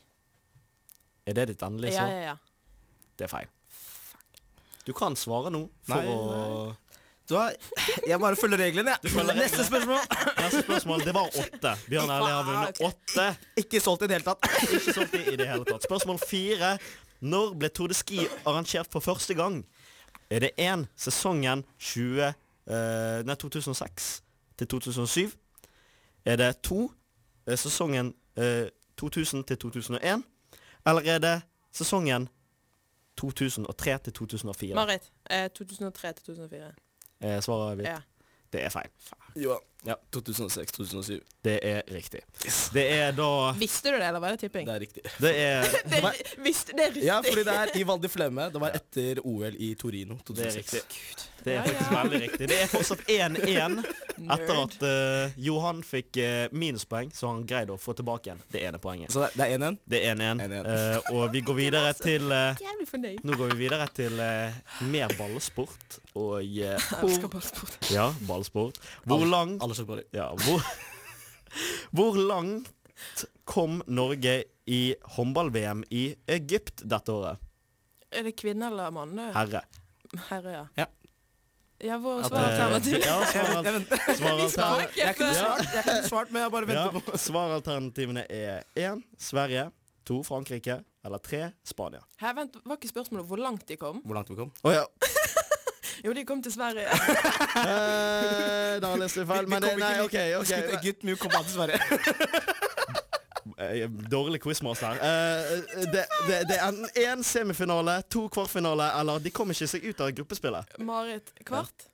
C: Er det ditt endelige
D: Ja,
C: svar?
D: ja, ja.
C: Det er feil. Du kan svare nå for
E: Nei,
C: å
E: Du har, jeg bare følger reglene, jeg. Neste spørsmål.
C: Neste spørsmål. Det var åtte. Bjørn Erle har vunnet åtte.
E: Ikke solgt i det hele tatt.
C: Ikke solgt i i det hele tatt. Spørsmål fire. Når ble Tour de Ski arrangert for første gang? Er det én sesongen 20, eh, nei, 2006 til 2007? Er det to eh, sesongen eh, 2000 til 2001? Eller er det sesongen 2003 til 2004?
D: Marit. Eh, 2003 til 2004.
C: Eh, svaret er
D: Ja.
C: hvitt. Det er feil.
E: Jo, ja. 2006-2007.
C: Det er riktig. Det er da
D: Visste du det, eller var det tipping?
E: Det er riktig.
C: Det er
D: Det, visste, det er riktig.
E: Ja, fordi
D: [LAUGHS]
E: det er i Val di Flemme. Det var etter OL i Torino 2006.
C: Det er riktig. Det
D: Ja,
C: er faktisk
D: ja.
C: veldig riktig. Det er fortsatt 1-1 etter at eh, Johan fikk eh, minuspoeng, så han greide å få tilbake igjen det ene poenget.
E: Så det- det er 1-1.
C: Det er 1-1.
E: 1-1.
C: Eh, og vi
D: [LAUGHS]
C: går videre til eh,
D: Jævlig fornøyd.
C: Nå går vi videre til eh, mer ballsport og eh,
D: Elsker ballsport.
C: Ja, ballsport. Hvor lang
E: Alle slags baller.
C: ja, hvor, [LAUGHS] hvor langt kom Norge i håndball-VM i Egypt dette året?
D: Er det kvinne eller mann? det?
C: Herre.
D: Herre, ja.
E: Ja.
D: Ja, hvor
E: At,
D: svar alternativ? [LAUGHS]
C: Eh, [LAUGHS] ja, altså, svar- svaralternativ.
E: Jeg kunne svart, jeg kunne svart men jeg bare venter på
C: Ja, [LAUGHS] svaralternativene er 1. Sverige, 2. Frankrike eller 3. Spania.
D: Her, vent, var ikke spørsmålet hvor langt de kom?
E: Hvor langt vi kom?
C: Å ja.
D: Jo, de kom til Sverige.
C: [LAUGHS] Eh, da leste jeg feil. Men det, nei, OK. ok
E: Gutt, gutt, men vi kom bare til [LAUGHS] Sverige.
C: Eh, Dårlig quizmaster. Eh, det, det, det er enten én semifinale, to kvartfinale eller de kom ikke seg ut av gruppespillet.
D: [LAUGHS] Marit kvart?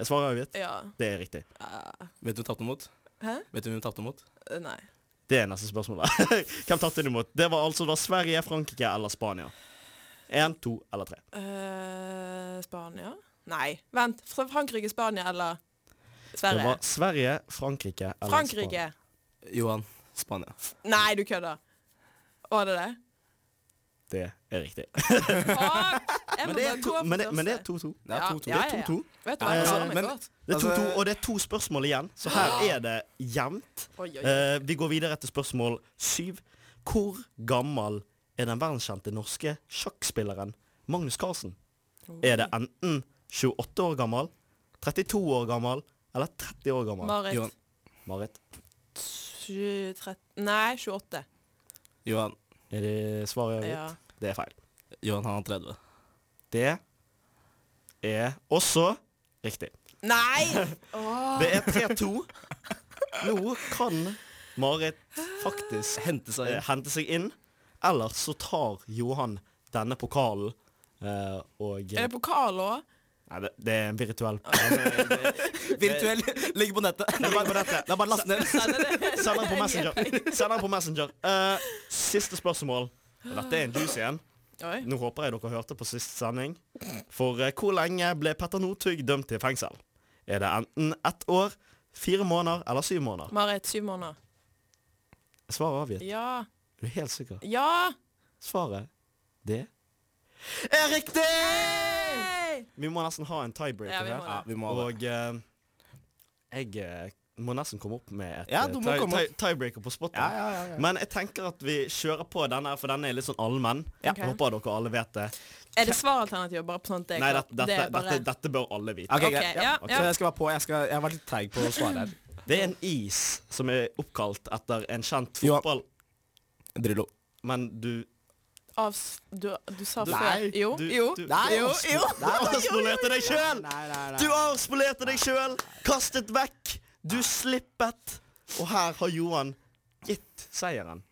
C: Jeg svarer avgitt.
D: Ja.
C: Det er riktig.
D: Eh,
E: Vet du hvem vi tapte mot?
D: Hæ?
E: Vet du hvem vi tapte mot?
D: Eh, Nei.
C: Det er neste spørsmål. da. [LAUGHS] Hvem tapte du mot? Det var altså da Sverige, Frankrike eller Spania. Én, to eller tre.
D: Eh, Spania? Nei. Vent. Fra Frankrike, Spania eller
C: Det
D: Sverige?
C: var Sverige, Frankrike eller Spania.
D: Frankrike.
E: Johan. Spania.
D: Nei, du kødder. Var det det?
C: Det er riktig.
D: Fuck! Jeg må
C: Men det
D: bare
C: er
D: gå
C: to-
D: for
C: Men det- men det er
D: første.
C: 2-2.
E: Det er
D: Ja,
E: 2-2.
D: ja,
E: Det
D: ja, ja.
E: er 2-2.
D: Vet du hva, jeg
C: Eh,
D: klarer meg
E: men-
D: godt.
C: Det er
E: Altså-
C: 2-2, og det er to spørsmål igjen, så her er det jevnt.
D: Ah. Oi, oi, oi.
C: Eh, vi går videre til spørsmål syv. Hvor gammel er den verdenskjente norske sjakkspilleren Magnus Carlsen? Er det enten 28 år gammel, 32 år gammel eller 30 år gammel?
D: Marit.
E: Johan.
C: Marit.
D: 20, 13 Nei, 28.
E: Johan.
C: Er det svaret jeg har
D: Ja.
C: gitt? Det er feil.
E: Johan, han er 30.
C: Det er også riktig.
D: Nei! Åh.
C: Det er 3-2.
D: Ah.
C: Nå kan Marit faktisk
E: Hente seg
C: eh,
E: inn.
C: hente seg inn. Eller så tar Johan denne pokalen eh, og
D: Er det pokal òg?
C: Nei, det, det er en virtuell
E: Virtuell. [LAUGHS] Ligger på nettet. Det er bare, det er bare last ned.
C: [LAUGHS] Send den på Messenger. Send den på Messenger. Eh, siste spørsmål. Og Dette er en juice igjen.
D: Oi.
C: Nå håper jeg dere hørte på siste sending. For eh, hvor lenge ble Petter Northug dømt til fengsel? Er det enten ett år, fire måneder eller syv måneder?
D: Marit, syv måneder.
C: Svaret er avgitt.
D: Ja.
C: Er du helt sikker?
D: Ja!
C: Svaret det er riktig! Vi må nesten ha en tiebreaker
D: Ja, vi må
C: her.
D: det. Ja,
E: vi
C: og eh,
E: må ha
C: jeg eh, må nesten komme opp med et
E: Ja,
C: eh,
E: du må
C: tie-
E: komme
C: tie-
E: opp.
C: tiebreaker på spotten.
E: Ja, ja, ja, ja.
C: Men jeg tenker at vi kjører på denne, her, for denne er litt sånn allmenn.
D: Ja.
C: Jeg Håper dere alle vet det.
D: Er det svaralternativet bare på sånt det er
C: Nei,
D: klart?
C: dette, dette,
D: det er bare
C: dette, dette bør alle vite.
E: Ok,
D: Ok,
E: greit.
D: ja,
E: Ok,
D: ja.
E: Så jeg skal være på. Jeg, skal, jeg har vært litt treig på å svare her.
C: Det er en is som er oppkalt etter en kjent
E: Johan.
C: fotball...
E: Drillo.
C: Men du
D: av, s- du, du sa
C: Du-
D: før
C: Nei,
D: Jo,
C: du-
D: jo,
C: du-
E: Nei,
D: jo,
E: avsp-
D: jo.
C: Du avspolerte deg sjøl! Du avspolerte deg sjøl! Kastet vekk! Du slippet! Og her har Johan gitt seieren.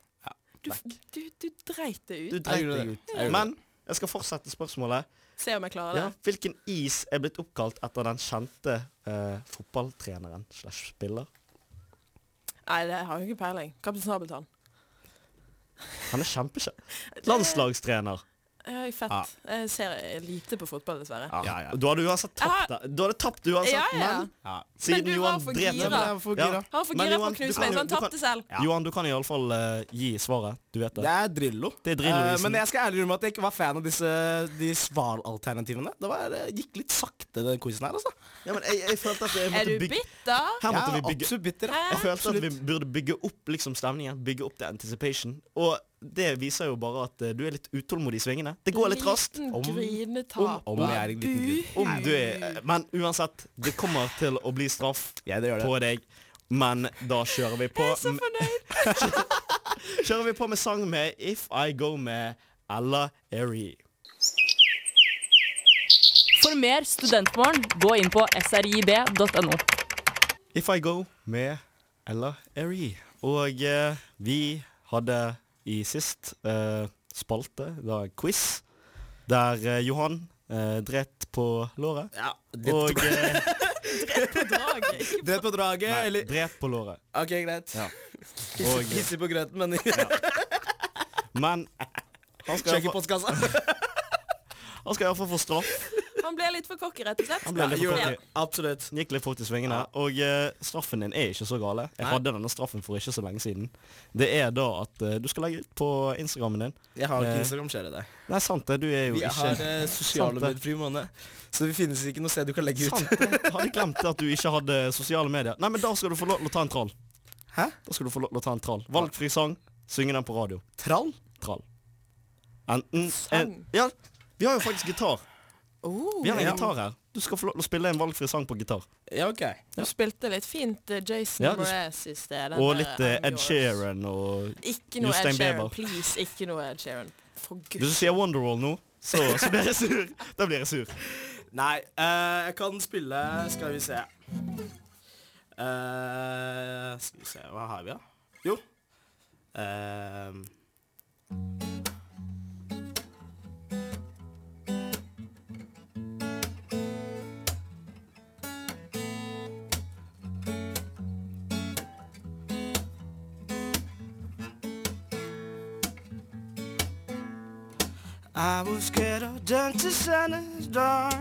D: Du, du, du dreit det
C: Du
D: ut.
E: Jeg
C: dreit
E: gjorde
C: deg
E: det.
C: ut.
E: Jeg gjorde
C: Men Jeg skal fortsette spørsmålet.
D: Se om jeg klarer det.
C: Ja, hvilken is er blitt oppkalt etter den kjente eh, fotballtreneren slash spiller?
D: Nei, det har jeg ikke peiling. Kaptein Sabeltann.
C: Han er kjempekjent. Landslagstrener.
D: Jeg er fett. Jeg ser lite på fotball, dessverre.
E: Ja, ja.
C: Du hadde uansett tapt, da. Du hadde tapt uansett,
D: Ja, ja.
C: altså, men
E: Ja.
C: siden
D: Men du var
C: Johan
D: for
C: drev
D: gira.
C: til det.
E: Jeg var
C: Ja.
E: for gira.
D: Han var for
C: Men
D: gira på
C: Johan,
D: å knuse
C: du kan
D: meg,
C: jo-
D: så han
C: du kan-
D: tapte selv.
E: Ja.
C: Johan, du kan iallfall uh, gi svaret. Du vet
E: Det
C: det.
E: er Drillo.
C: Det er liksom. Drillo-isen.
E: Eh, men jeg skal ærlig innrømme at jeg ikke var fan av disse de svaralternativene. Det var, det gikk litt sakte, den quizen her, altså.
C: Ja, men jeg, jeg følte at jeg
D: Er
C: måtte
D: du
C: bygge
D: bitter?
C: Her måtte
E: Jeg
C: vi
E: er
C: bygge
E: absolutt bitter.
D: Hæ?
C: Jeg følte at vi
E: Absolutt.
C: burde bygge opp liksom stemningen, bygge opp det anticipation. Og det viser jo bare at eh, du er litt utålmodig i svingene. Det går litt raskt.
D: Liten
E: Om-
D: grinetaper.
E: om jeg er en liten gutt.
D: Bu.
C: Om du er Men uansett, det kommer til å bli straff
E: Ja, det gjør det.
C: på deg. Men da kjører vi på
D: Jeg er så fornøyd.
C: Kjører vi på med sang med If I Go med Ella Airy.
H: For mer Studentmorgen, gå inn på srib.no.
C: If I Go med Ella Airy. Og eh, vi hadde i sist eh, spalte, da quiz, der eh, Johan eh, dret på låret.
E: Ja, det
C: Og
E: [LAUGHS]
C: eh,
D: Draget.
E: Dret på draget,
C: Nei,
E: eller
C: dret på låret.
E: OK, greit.
C: Ja.
E: Hissig-
C: Og-
E: Hissig på grøten, men
C: Men han skal
E: sjekk i
C: iallfall [LAUGHS]
E: postkassa.
C: han skal i hvert fall få straff.
D: Han ble litt for cocky, rett og slett.
C: Han ble litt for
D: Ja.
C: cocky.
E: Absolutt.
C: Gikk litt fort i svingene. Og eh, straffen din er ikke så gale. Jeg
E: Nei.
C: hadde denne straffen for ikke så lenge siden. Det er da at eh, du skal legge ut på Instagrammen din.
E: Jeg har
C: Eh,
E: ikke Instagram, skjer det deg.
C: Nei, sant det. Du er jo
E: Vi
C: ikke
E: har eh, sosiale
C: Sant det.
E: medier-fri måned, så det finnes ikke noe sted du kan legge ut.
C: Sant det. Jeg Hadde glemt at du ikke hadde sosiale medier. Nei, men da skal du få lov til å ta en trall.
E: Hæ?
C: Da skal du få lov til å ta en trall. Valgfri sang. Synge den på radio.
E: Trall?
C: Trall. Enten en,
D: Sang?
C: Ja, vi har jo faktisk gitar.
D: Oh,
C: Vi har en
E: Ja.
C: gitar her. Du skal få lov til å spille en valgfri sang på gitar.
E: [LAUGHS] Ja, OK.
D: du spilte litt fint eh, Jason
C: Ja, du-
D: Mraz i sted. den
C: Og
D: der
C: litt eh,
D: I'm
C: Ed
D: yours.
C: Sheeran og
D: Ikke noe Ed
C: Justin
D: Sheeran.
C: Bieber.
D: Please, ikke noe Ed Sheeran. For
C: Hvis du
D: guds
C: sier Wonderwall nå, så, så blir jeg sur. Da blir jeg sur.
E: Nei, eh, jeg kan spille Skal vi se Eh, Skal vi se, hva har vi da? Jo Eh, I was scared of dentists and his dark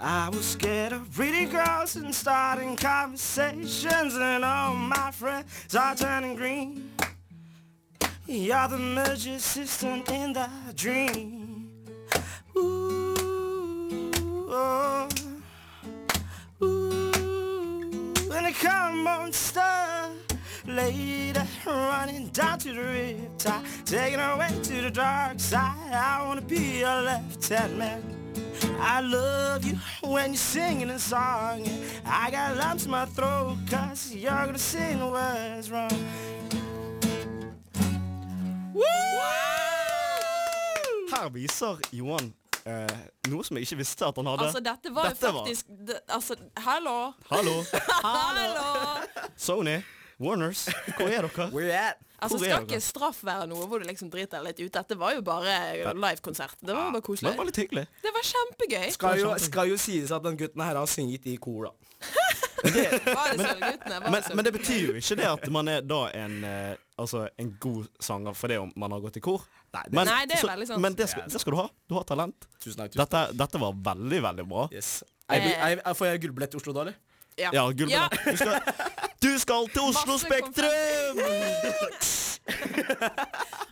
E: I was scared of pretty girls and starting conversations And all my friends are turning green You're the magic system in the dream Ooh, oh. Ooh, and I come monster Later running down to the riptide Taking her way to the dark side I wanna be a left-hand man I love you when you're singing a song. I got lumps in my throat cause you're gonna sing the words wrong.
C: Her viser Johan eh, noe som jeg ikke visste at han hadde.
D: Altså, dette var jo
C: Dette var-
D: faktisk det, Altså, hallo!
C: Hallo,
D: Hallo!
C: Sony, Warners, hvor er dere?
E: Where you at?
D: Altså,
C: Hvor er
D: skal
C: dere?
D: ikke straff være noe hvor du liksom driter deg litt ut? Dette var jo bare livekonsert. Det var bare
C: Men Det var
D: koselig.
C: litt hyggelig.
D: Det var kjempegøy.
E: Skal jo, skal jo sies at den gutten her har singet i kor, da.
D: Var det Sølvguttene? Var
C: Men,
D: det
C: men det
D: Sølvguttene?
C: betyr jo ikke det at man er da en, eh, altså, en god sanger for det om man har gått i kor.
E: Nei, det-
C: Men,
D: Nei, det er
C: så-
D: veldig sant.
C: Men det skal, det skal du ha. Du har talent.
E: Tusen takk. Tusen.
C: Dette, dette var veldig, veldig bra.
E: Yes. Jeg, blir-
D: Eh.
E: jeg, jeg, får jeg gullbillett til Oslo da, eller?
C: Ja, gull
D: Ja.
C: med det. Du skal, du skal til Oslo
D: Masse
C: Spektrum!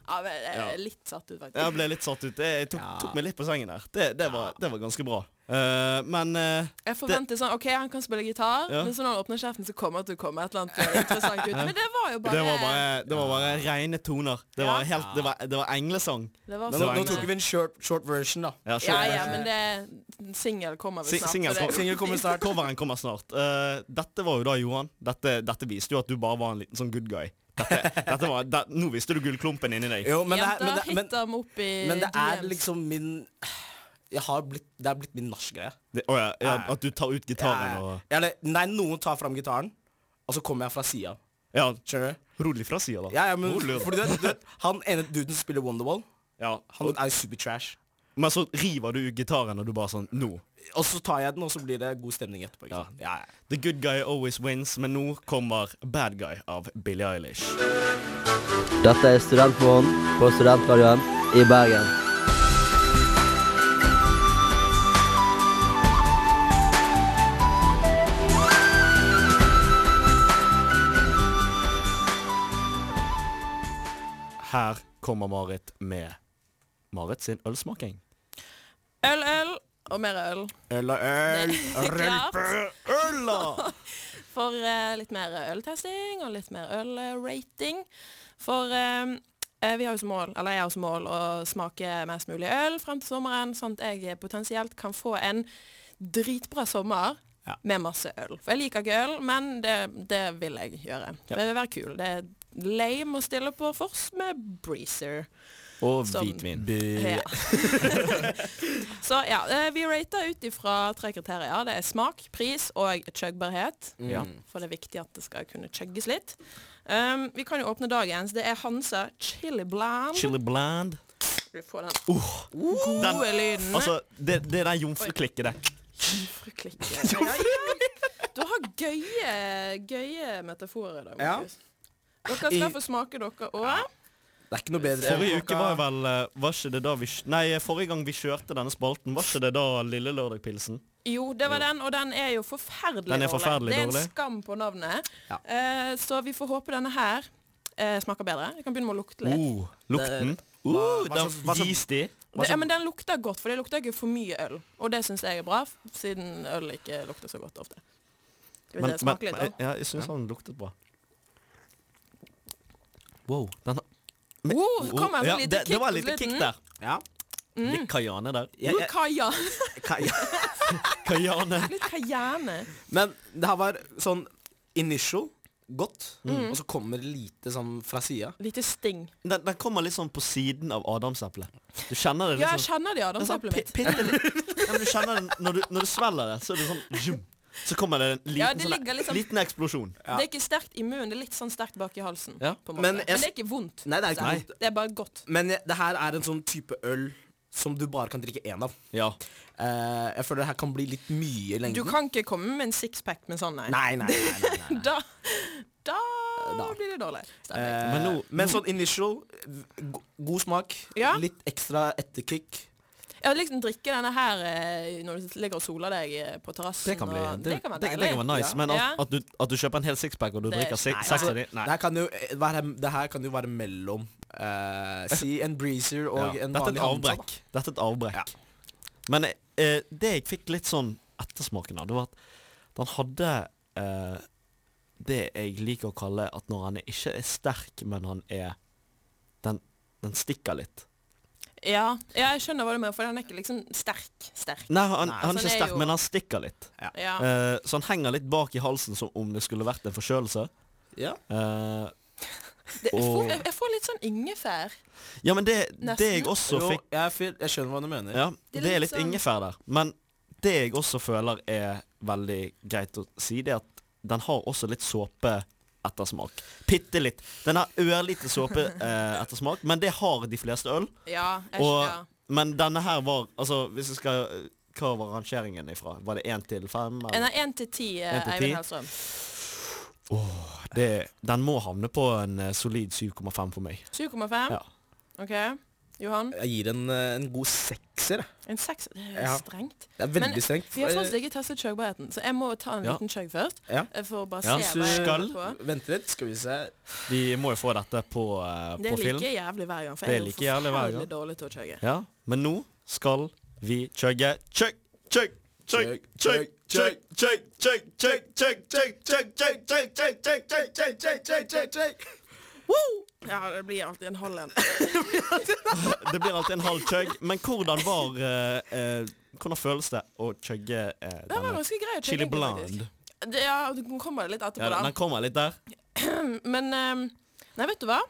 D: Ja, men jeg er litt satt ut, faktisk.
C: Jeg ble litt satt ut. Jeg tok, tok meg litt på sengen der. Det, det, var, det var ganske bra. Eh, men eh,
D: Jeg forventer sånn OK, han kan spille gitar,
C: Ja.
D: men så når han åpner kjeften, så kommer det til å komme et eller annet interessant ut. Men det var jo bare
C: det, var bare, det var bare rene toner. Det var, helt, det var, det var englesang.
D: Det var
E: Nå,
C: Det
E: nå,
C: var
E: nå
C: egentlig-
E: tok vi en short, short version, da.
C: Ja,
D: Ja, ja, men det Singel kommer vel
C: Si-
D: snart.
C: singel
D: for det-
C: kom-
E: Singel kommer snart.
C: Coveren kommer snart. Eh, dette var jo da, Johan. Dette, dette viste jo at du bare var en liten sånn good guy. Dette, dette var, det, nå viste du gullklumpen inni deg.
E: Jo, men det, er-
D: Jenter
E: men, det, men,
D: hitter dem opp i
E: men det er
D: DMs.
E: liksom min jeg har blitt, Det er blitt min nachgreie.
C: Det, å ja, ja, at du tar ut gitaren og
E: Eller nei, noen tar fram gitaren, og så kommer jeg fra sida.
C: Ja,
E: Skjønner du?
C: rolig fra sida, da.
E: Ja, ja, men
C: Rolig, da.
E: fordi du vet, du vet, Han ene duden som spiller Wonderwall
C: Ja.
E: Han er jo supertrash.
C: Men så river du gitaren, og du bare sånn Nå.
E: Og så tar jeg den, og så blir det god stemning etterpå. Ikke sant? Ja, ja.
C: The good guy always wins, men nå kommer Bad Guy av Billie Eilish.
I: Dette er Studentmorgen på Studentradioen i Bergen.
C: Her kommer Marit med Marit sin ølsmaking.
D: Øl, øl og mer øl.
E: Øl og
D: [LAUGHS]
E: øl,
D: Klart.
E: Mm.
C: Øla!
D: For eh, litt mer øltesting og litt mer ølrating. For eh, eh, vi har jo som mål, eller jeg har som mål, å smake mest mulig øl frem til sommeren, sånn at jeg potensielt kan få en dritbra sommer
E: Ja.
D: med masse øl. For jeg liker ikke øl, men det, det vil jeg gjøre.
E: Ja.
D: Det vil være kul. Det er lame å stille på Fors med Breezer.
C: Og
D: Som-
C: hvitvin.
D: Ja. [LAUGHS] Så ja, eh, vi rater ut ifra tre kriterier. Det er smak, pris og chuggbarhet.
C: Ja.
D: For det er viktig at det skal kunne chugges litt. Um, vi kan jo åpne dagens. Det er Hansa Chili Bland.
C: Chili bland.
D: Du får den Uh,
C: Den,
D: gode lyden.
C: altså, det, det er den jomfruklikket, det.
D: Jomfruklikke. Ja, ja. Du har gøye, gøye metaforer i dag,
E: Ja.
D: Markus. Dere skal få smake dere òg.
E: Det er ikke noe bedre.
C: Forrige uke var vel eh, Var ikke det da vi kj- Nei, forrige gang vi kjørte denne spalten, var ikke det da Lille Lørdag-pilsen?
D: Jo, det var den, og den er jo forferdelig
C: Den er forferdelig
D: Det er en
C: dårlig.
D: skam på navnet.
E: Ja.
D: Eh, så vi får håpe denne her eh, smaker bedre. Vi kan begynne med å lukte litt.
C: Oh, lukten. Uh,
E: hva- hva
C: den
E: slags- hva slags-
C: yeasty.
D: Det, ja, men den lukter godt, for det lukter ikke for mye øl. Og det syns jeg er bra, f- siden øl ikke lukter så godt ofte. Skal vi
C: Men, men
D: se, smake litt,
C: jeg-
D: da.
C: ja, jeg syns den luktet bra. Wow. Den har
D: Oh, det kom en sånn
C: ja,
D: liten
C: det, det
D: kick
C: var
D: på
C: litt kick
D: slutten. Mm.
C: der.
E: Ja.
C: Litt kajane der.
E: Jeg,
D: Litt [LAUGHS] kaja.
E: jeg, kan- ja.
C: Kajane.
D: [LAUGHS] Litt kajane.
E: Men det her var sånn initial, godt,
C: Mm.
E: og så kommer det lite sånn fra sida.
D: Lite sting.
C: Den, den kommer litt sånn på siden av adamseplet. Du kjenner det
D: Ja,
C: litt
D: jeg
C: sånn
D: kjenner det,
C: det er sånn
D: adamseplet mitt.
C: pi- bitte
D: [LAUGHS]
C: litt- ja, men du kjenner det når du, når du svelger det, så er det sånn zoom. Så kommer det en liten,
D: Ja, det
C: sånn-
D: ligger liksom-
C: liten eksplosjon.
D: Det er ikke sterkt i munnen, det er litt sånn sterkt bak i halsen.
C: Ja.
D: På en måte.
E: Men
D: Men,
E: jeg-
D: det er ikke vondt.
E: Nei, det er ikke
D: Nei.
E: vondt.
D: Det er bare godt.
E: Men jeg, det her er en sånn type øl som du bare kan drikke én av.
C: Ja.
E: Eh, jeg føler det her kan bli litt mye i lengden.
D: Du kan ikke komme med en sixpack med sånn, nei.
E: Nei, nei, nei. nei, nei.
D: Da, da,
E: Da.
D: blir det dårlig. stemning.
E: Eh,
C: [LAUGHS] Men
E: men,
C: nå-
E: sånn initial, go god smak,
D: Ja.
E: litt ekstra etterkick.
D: Jeg vil liksom drikke denne her eh, når du ligger og soler deg eh, på terrassen.
C: Det kan bli
D: og-
C: det,
D: det kan være
C: det,
D: deilig.
C: det kan være nice,
E: Ja.
C: men at,
D: Ja.
C: at, du, at du kjøper en hel sixpack og du
D: Det- Altså,
C: drikker
D: nei,
C: seks seks av de
E: Det
C: Nei.
E: her kan jo eh, være, det her kan jo være mellom eh, si en breezer
C: Ja.
E: og en
C: Dette er
E: vanlig
C: et avbrekk. Dette er et avbrekk. Men eh, det jeg fikk litt sånn ettersmaken av, det var at den hadde eh, det jeg liker å kalle at når han ikke er sterk, men han er Den, den stikker litt.
D: Ja, ja, jeg skjønner hva du mener, for den er ikke liksom sterk. sterk.
C: Nei, han, han er
D: så
C: ikke
D: det er
C: sterk,
D: jo-
C: men han stikker litt.
D: Ja.
C: Eh, så han henger litt bak i halsen som om det skulle vært en forkjølelse.
E: Ja.
C: Eh,
D: Det, jeg, får,
C: og-
D: jeg, jeg får litt sånn ingefær.
C: ja, men det, det
D: Nesten.
C: jeg også
E: Jo,
C: fikk
E: jeg, fyl- jeg skjønner hva du mener.
C: Ja,
D: Det er
C: det er
D: litt
C: litt
D: sånn-
C: ingefær der. Men det jeg også føler er veldig greit å si, det er at den har også litt såpe ettersmak. Bitte litt. Den har ørlite
D: [LAUGHS]
C: såpe eh, ettersmak, men det har de fleste øl.
D: Ja, jeg
C: Og,
D: skjønner.
C: men denne her var Altså, hvis jeg skal Hva var rangeringen ifra? Var det én til fem? eller?
D: En av én til ti, eh,
C: En til ti.
D: Eivind Hellstrøm.
C: Det, den må havne på en eh, solid 7,5 for meg.
D: 7,5.
C: Ja.
D: OK. Johan?
E: Jeg gir en, eh, en god sekser. jeg.
D: En seks Det er
E: Ja.
D: strengt.
E: Det er veldig
D: Men
E: strengt.
D: Vi har sånn faktisk ikke testet chuggbarheten, så jeg må ta en
C: Eh, Ja.
D: liten chug først.
E: Ja.
D: eh, For å bare
C: Ja,
D: se
C: så
D: hva jeg
C: skal-
D: holder på.
E: Eh, Vent litt, skal vi se.
C: De må jo få dette på, eh,
D: Det
C: på
D: er
C: film.
D: like jævlig hver gang, for
C: Det
D: jeg
C: er
D: er
C: like
D: jo
C: jævlig hver
D: forferdelig dårlig til å chugge.
C: Ja, men nå skal vi chugge Chugg, chugg, chugg, chugg, chugg, chugg, chugg, chugg, chugg, chugg, chugg, chugg, chugg, chugg, chugg, chugg, chugg, chugg, chugg, chugg, chugg.
D: Ja, det blir alltid en halv en.
C: Det blir alltid en halv chugg, men hvordan var eh, eh, Hvordan føles det å chugge eh,
D: Det var
C: denne?
D: ganske grei chugging.
C: Chili
D: faktisk.
C: blonde.
D: Det, ja, den kommer litt etterpå,
C: Ja, den
D: da.
C: den kommer litt der.
D: Men ehm, Nei, vet du hva?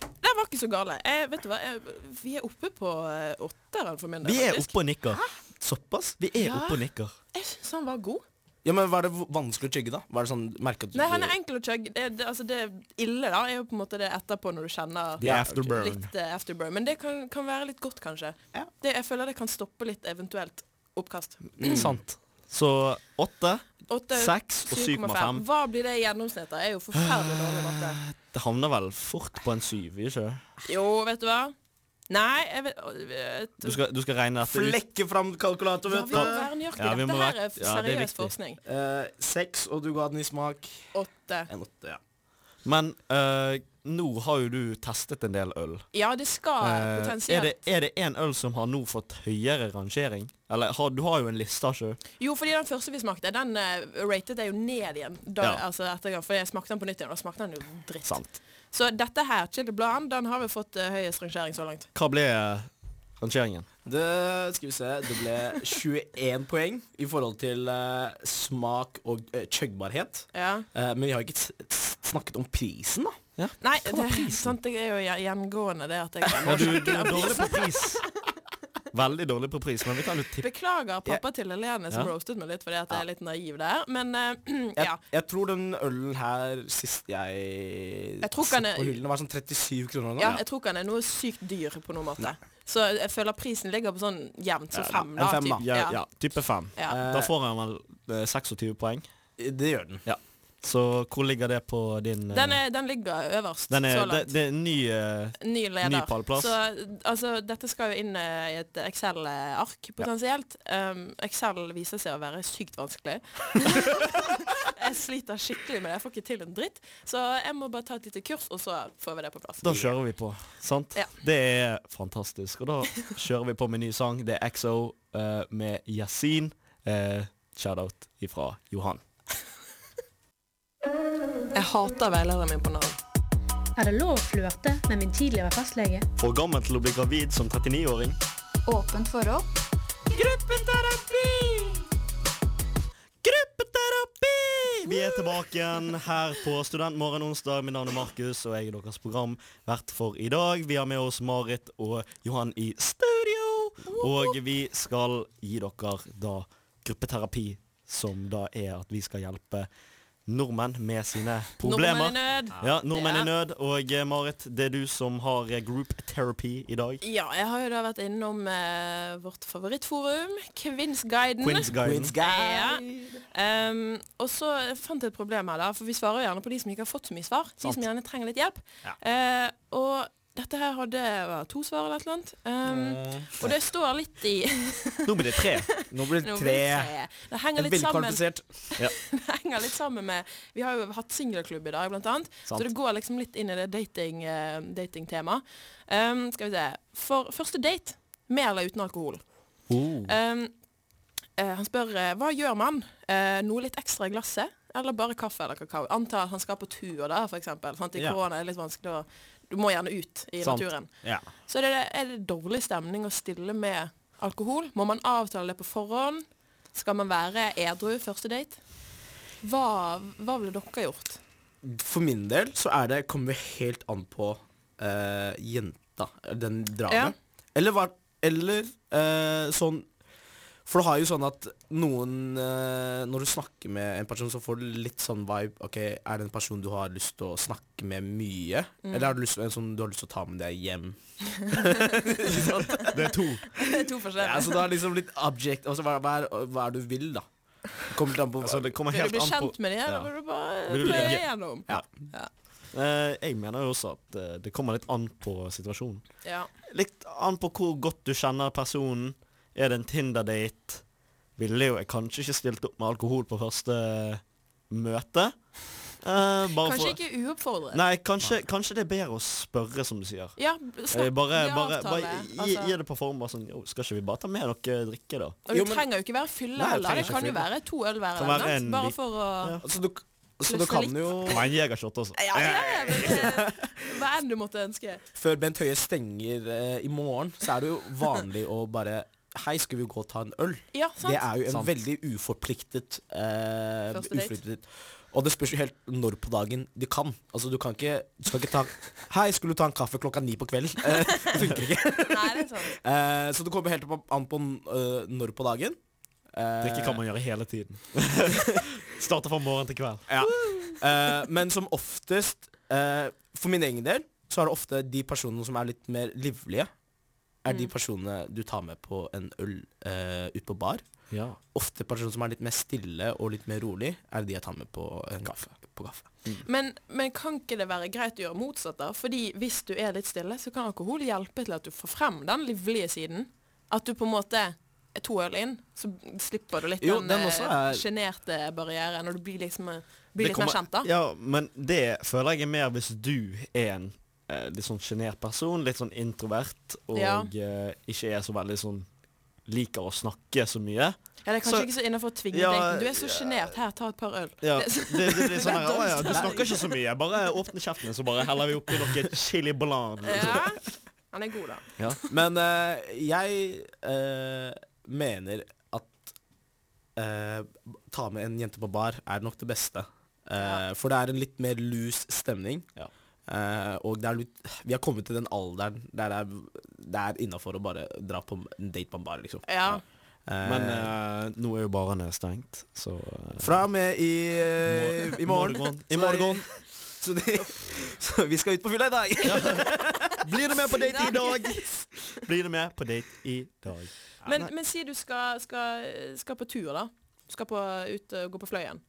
D: Den var ikke så gale. Jeg, vet du hva? Jeg, vi er oppe på eh, åtteren for min del.
C: Vi er
D: faktisk.
C: oppe og nikker. Såpass? Vi er oppe og nikker.
D: Jeg syns han var god.
E: Ja, men Var det v- vanskelig å chugge, da? Var det sånn, merket du
D: Nei, han er enkel å chugge. Det, det, altså, det ille da, er jo på en måte det etterpå når du kjenner
C: The afterburn.
D: litt eh, afterburn. Men det kan, kan være litt godt, kanskje.
E: Ja.
D: Det, jeg føler det kan stoppe litt eventuelt oppkast.
C: Mm. Sant. Så åtte,
D: Åtte,
C: seks og
D: 7,5.
C: 7,5.
D: Hva blir det i gjennomsnitt? da? Jeg er jo forferdelig dårlig i matte.
C: Det havner vel fort på en syv, gjør ikke det?
D: Jo, vet du hva? Nei, jeg vet, å, vet
C: Du skal, du skal regne dette ut.
E: Flekke fram kalkulator,
D: Ja,
E: vet
D: vi må
E: du.
D: være nøyaktige.
C: Ja, vi
D: Dette
C: må
D: her
C: være-
D: er
C: ja, det er
D: seriøs
C: viktig.
D: forskning.
E: Eh, seks, og du ga den i smak
D: Åtte.
E: en åtte. Ja.
C: Men eh, nå har jo du testet en del øl.
D: Ja, det skal
C: Eh, er det-
D: potensielt
C: er det én øl som har nå fått høyere rangering? Eller har, du har jo en liste, har ikke du?
D: Jo, fordi den første vi smakte, den eh, rated jeg jo ned igjen. Da,
C: Ja.
D: altså ettergang, For jeg smakte den på nytt igjen, og da smakte den jo dritt.
C: Sant.
D: Så dette her, Chili Bland, den har vi fått eh, høyest rangering så langt.
C: Hva ble eh, rangeringen?
E: Det, skal vi se, det ble 21 poeng i forhold til eh, smak og uh, chuggbarhet.
D: Ja.
E: Eh, men vi har ikke s- s- snakket om prisen, da.
D: Nei, det, sant, det er jo gjen- gjengående det
C: [LAUGHS]
D: at
C: Ja,
D: jeg
C: du, du er dårlig på
D: [LAUGHS]
C: pris. Veldig dårlig på pris, men vi kan jo tippe.
D: Beklager pappa til Helene som
C: Ja.
D: roastet meg litt fordi at jeg er litt naiv der, men eh, [CLEARS THROAT] ja.
E: Jeg, jeg tror den ølen her sist jeg,
D: Jeg tror
E: satt
D: den er-
E: på hyllen, var sånn 37 kroner. eller
D: ja.
E: noe.
D: Jeg tror ikke han er noe sykt dyr på noen måte. Så jeg føler prisen ligger på sånn jevnt, så fem,
E: en
D: da.
E: fem,
D: typ.
E: da.
C: Ja, ja, type fem.
D: Ja.
C: Da får han vel eh, 26 poeng.
E: Det gjør den.
C: Så hvor ligger det på din eh,
D: Den, er, den ligger øverst
C: den
D: så
C: er, det,
D: langt.
C: det er en ny eh,
D: Ny leder.
C: ny pallplass.
D: Så altså, dette skal jo inn eh, i et Excel-ark, potensielt. Um, Excel viser seg å være sykt
C: [LAUGHS]
D: vanskelig. jeg sliter skikkelig med det. Jeg får ikke til en dritt. Så jeg må bare ta et lite kurs, og så får vi det på plass.
C: Da kjører vi på, sant?
D: Ja.
C: Det er fantastisk. Og da kjører vi på med ny sang. Det er XO eh, med Yasin. Eh, Shoutout ifra Johan.
D: Jeg hater veilederen min på Nav.
J: Er det lov å flørte med min tidligere fastlege?
C: For gammel til å bli gravid som 39-åring.
F: Åpent forhold.
C: Gruppeterapi! Vi er tilbake igjen her på Studentmorgen onsdag. Mitt navn er Markus, og jeg er deres programvert for i dag. Vi har med oss Marit og Johan i studio. Og vi skal gi dere da gruppeterapi, som da er at vi skal hjelpe nordmenn med sine problemer.
D: Nordmenn i nød.
C: Ja, nordmenn i
D: Ja.
C: nød. Og eh, Marit, det er du som har eh, group therapy i dag.
D: Ja, jeg har jo da vært innom eh, vårt favorittforum, Kvinnsguiden.
C: Queensguiden.
D: Ja. Ehm, og så fant jeg et problem her, da. For vi svarer jo gjerne på de som ikke har fått så mye svar. De som gjerne trenger litt hjelp. Eh, og dette her hadde hva, to svar eller et eller annet. Ehm,
E: Eh,
D: og det står litt i
C: Nå blir det tre.
E: Nå blir det
D: Nå
E: tre.
D: vil jeg se. Det henger litt
E: Veldig
D: sammen
E: kvalifisert.
D: [LAUGHS] det henger litt sammen med Vi har jo hatt singelklubb i dag, blant annet.
C: Sant.
D: Så det går liksom litt inn i det dating, eh, datingtemaet. Um, skal vi se. For første date, med eller uten alkohol.
E: Oh.
D: Um, eh, han spør eh, hva gjør man? Eh, noe litt ekstra i glasset? Eller bare kaffe eller kakao? Anta at han skal på tur da, for eksempel. Sant? I
E: Ja.
D: korona er det litt vanskelig å Du må gjerne ut i
E: Sant.
D: naturen.
E: Ja.
D: Så er det, er det dårlig stemning å stille med alkohol? Må man avtale det på forhånd? Skal man være edru første date? Hva, hva ville dere gjort?
E: For min del så er det kommer det helt an på eh, jenta, den
D: Ja.
E: dragen. Eller hva Eller eh, sånn For det har jo sånn at noen eh, Når du snakker med en person, så får du litt sånn vibe Ok, er det en person du har lyst til å snakke med mye? Eller er det lyst, en som du har lyst til å ta med deg hjem?
C: Det er to.
D: Det er to
E: Ja,
D: forskjellige.
E: så det er liksom litt object altså, hva, hva, er, hva er det du vil, da? Kommer litt an på
C: Altså, det kommer
D: Vil
C: helt
D: du bli
C: an på
D: kjent med dem, eller
C: Ja.
D: vil du bare
C: Vil du
D: pløye
C: ligge?
D: gjennom?
E: Ja.
C: Eh, jeg mener jo også at eh, det kommer litt an på situasjonen.
D: Ja.
C: Litt an på hvor godt du kjenner personen. Er det en Tinder-date? Ville jo jeg kanskje ikke stilt opp med alkohol på første eh, møte. Eh, bare
D: Kanskje
C: for-
D: ikke uoppfordret.
C: Nei, kanskje, kanskje det er bedre å spørre, som du sier.
D: Ja,
C: Eh,
D: snakk
C: bare
D: i
C: bare,
D: avtale,
C: bare gi,
D: altså.
C: gi det på form. Bare sånn, jo, skal ikke vi bare ta med noe drikke, da?
D: Og
E: Jo,
D: du
E: men-
D: trenger jo ikke være fylla
E: Nei, det
D: heller. Det
E: trenger ikke
D: kan jo
E: fylla.
D: være to øl hver
C: Kan
D: eller
C: være
D: noe.
C: en
D: Bare
C: lit-
D: for å
C: Ja.
E: Så Altså, du, så du
D: Plutselig
E: kan
D: litt.
E: jo
C: Ta meg en jegershot også.
D: ja, ja, ja,
C: [LAUGHS]
D: men, eh, Hva enn du måtte ønske.
E: Før Bent Høie stenger eh, i morgen, så er det jo vanlig å bare Hei, skal vi gå og ta en øl?
D: Ja, sant.
E: Det er jo en
C: Sant.
E: veldig uforpliktet eh,
D: Første date.
E: uforpliktet- Og det spørs jo helt når på dagen du kan. Altså, du kan ikke, du skal ikke ta Hei, skulle du ta en kaffe klokka ni på kvelden? [LAUGHS] Eh, det funker ikke.
D: Nei, det er sant.
E: Eh, så det kommer helt opp- an på eh, når på dagen.
C: Drikke kan man gjøre hele
D: [LAUGHS]
C: tiden. Starte fra morgen til kveld.
E: Ja. Eh, men som oftest, eh, for min egen del, så er det ofte de personene som er litt mer livlige, er de
C: Mm.
E: personene du tar med på en øl eh, ut på bar.
C: Ja.
E: Ofte personer som er litt mer stille og litt mer rolig, er de jeg tar med på en kaffe. På kaffe.
D: Men, men kan ikke det være greit å gjøre motsatt da? Fordi hvis du er litt stille, så kan alkohol hjelpe til at du får frem den livlige siden. At du på en måte er to øl inn, så slipper du litt
C: Jo,
D: den
C: den også er-
D: sjenerte barrieren. Og du blir liksom blir
C: Det
D: litt
C: kommer-
D: mer kjent da.
C: Ja, men det føler jeg er mer hvis du er en eh, litt sånn sjenert person, litt sånn introvert, og
D: Ja.
C: eh, ikke er så veldig sånn Liker å snakke så mye.
D: Ja, det er kanskje
C: Så-
D: ikke så innenfor å tvinge
C: Ja,
D: deg. Du er
C: ja.
D: så sjenert. Her, ta et par øl.
C: Ja,
D: Det
C: det,
D: er så-
C: det, blir sånn her,
D: Det er
C: «Å ja, Du
D: dumt.
C: snakker ikke så mye. Bare åpne kjeften, så bare heller vi oppi noe chili blan.
D: [LAUGHS] Ja, han er god da.
E: Men eh, jeg eh, mener at eh, ta med en jente på bar er nok det beste. Eh, For det er en litt mer lus stemning. Eh, og det er litt, vi har kommet til den alderen der det er, det er innafor å bare dra på en date på en bar, liksom.
D: Ja.
C: Men eh, nå er jo barene stengt, så eh,
E: Fra og med i, eh, i morgen.
C: I morgen.
E: [LAUGHS] Så, de, så vi skal ut på fylla i dag.
C: Blir du med på date i dag? Blir du med på date i dag?
D: Men, men si du skal, skal, skal på tur, da. Du skal på, ut og gå på Fløyen.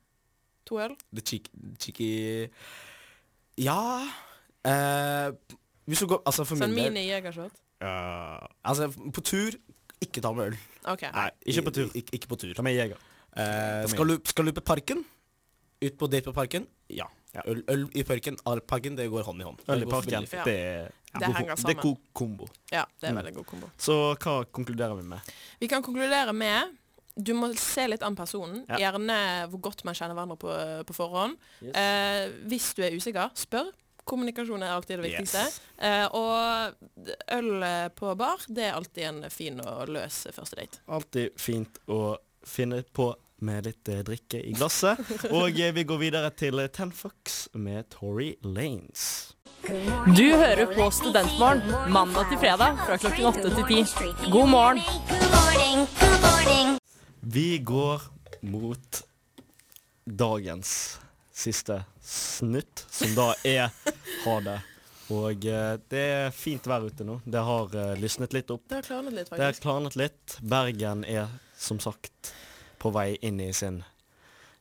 D: To øl?
E: The cheek- cheeky Ja eh, Hvis du går Altså for
D: Sånn
E: min del
D: mini-jegershot?
E: Ja, Altså på tur Ikke ta med øl
D: OK.
E: Nei, ikke på tur Ikke, på tur Ta
C: med jeger
E: skal, du, skal du på parken? Ut på date på parken? Ja Øl, øl i parken Al- Parken, det går hånd i hånd
C: Øl i
E: Det går
C: parken.
E: veldig fint.
C: Det er
D: Det henger
C: god- Det
D: sammen.
C: er god kombo.
D: Ja, det er
C: Mm.
D: veldig god kombo.
C: Så hva konkluderer vi med?
D: Vi kan konkludere med du må se litt an personen,
C: Ja.
D: gjerne hvor godt man kjenner hverandre på, på forhånd.
C: Yes.
D: Eh, hvis du er usikker, spør. Kommunikasjon er alltid det viktigste.
K: Yes.
D: Eh, og øl på bar, det er alltid en fin og løs første date.
C: Alltid fint å finne på med litt eh, drikke i
D: [LAUGHS]
C: glasset. Og eh, vi går videre til eh, Ten Fox med Tory Lanes.
H: Du hører på Studentmorgen mandag til fredag fra klokken åtte til ti. God morgen!
C: Vi går mot dagens siste snutt, som da er ha det. Og eh, det er fint vær ute nå. Det har eh, lysnet litt opp.
D: Det har klarnet litt,
C: Det har
D: faktisk.
C: klarnet litt. Bergen er som sagt på vei inn i sin [LAUGHS]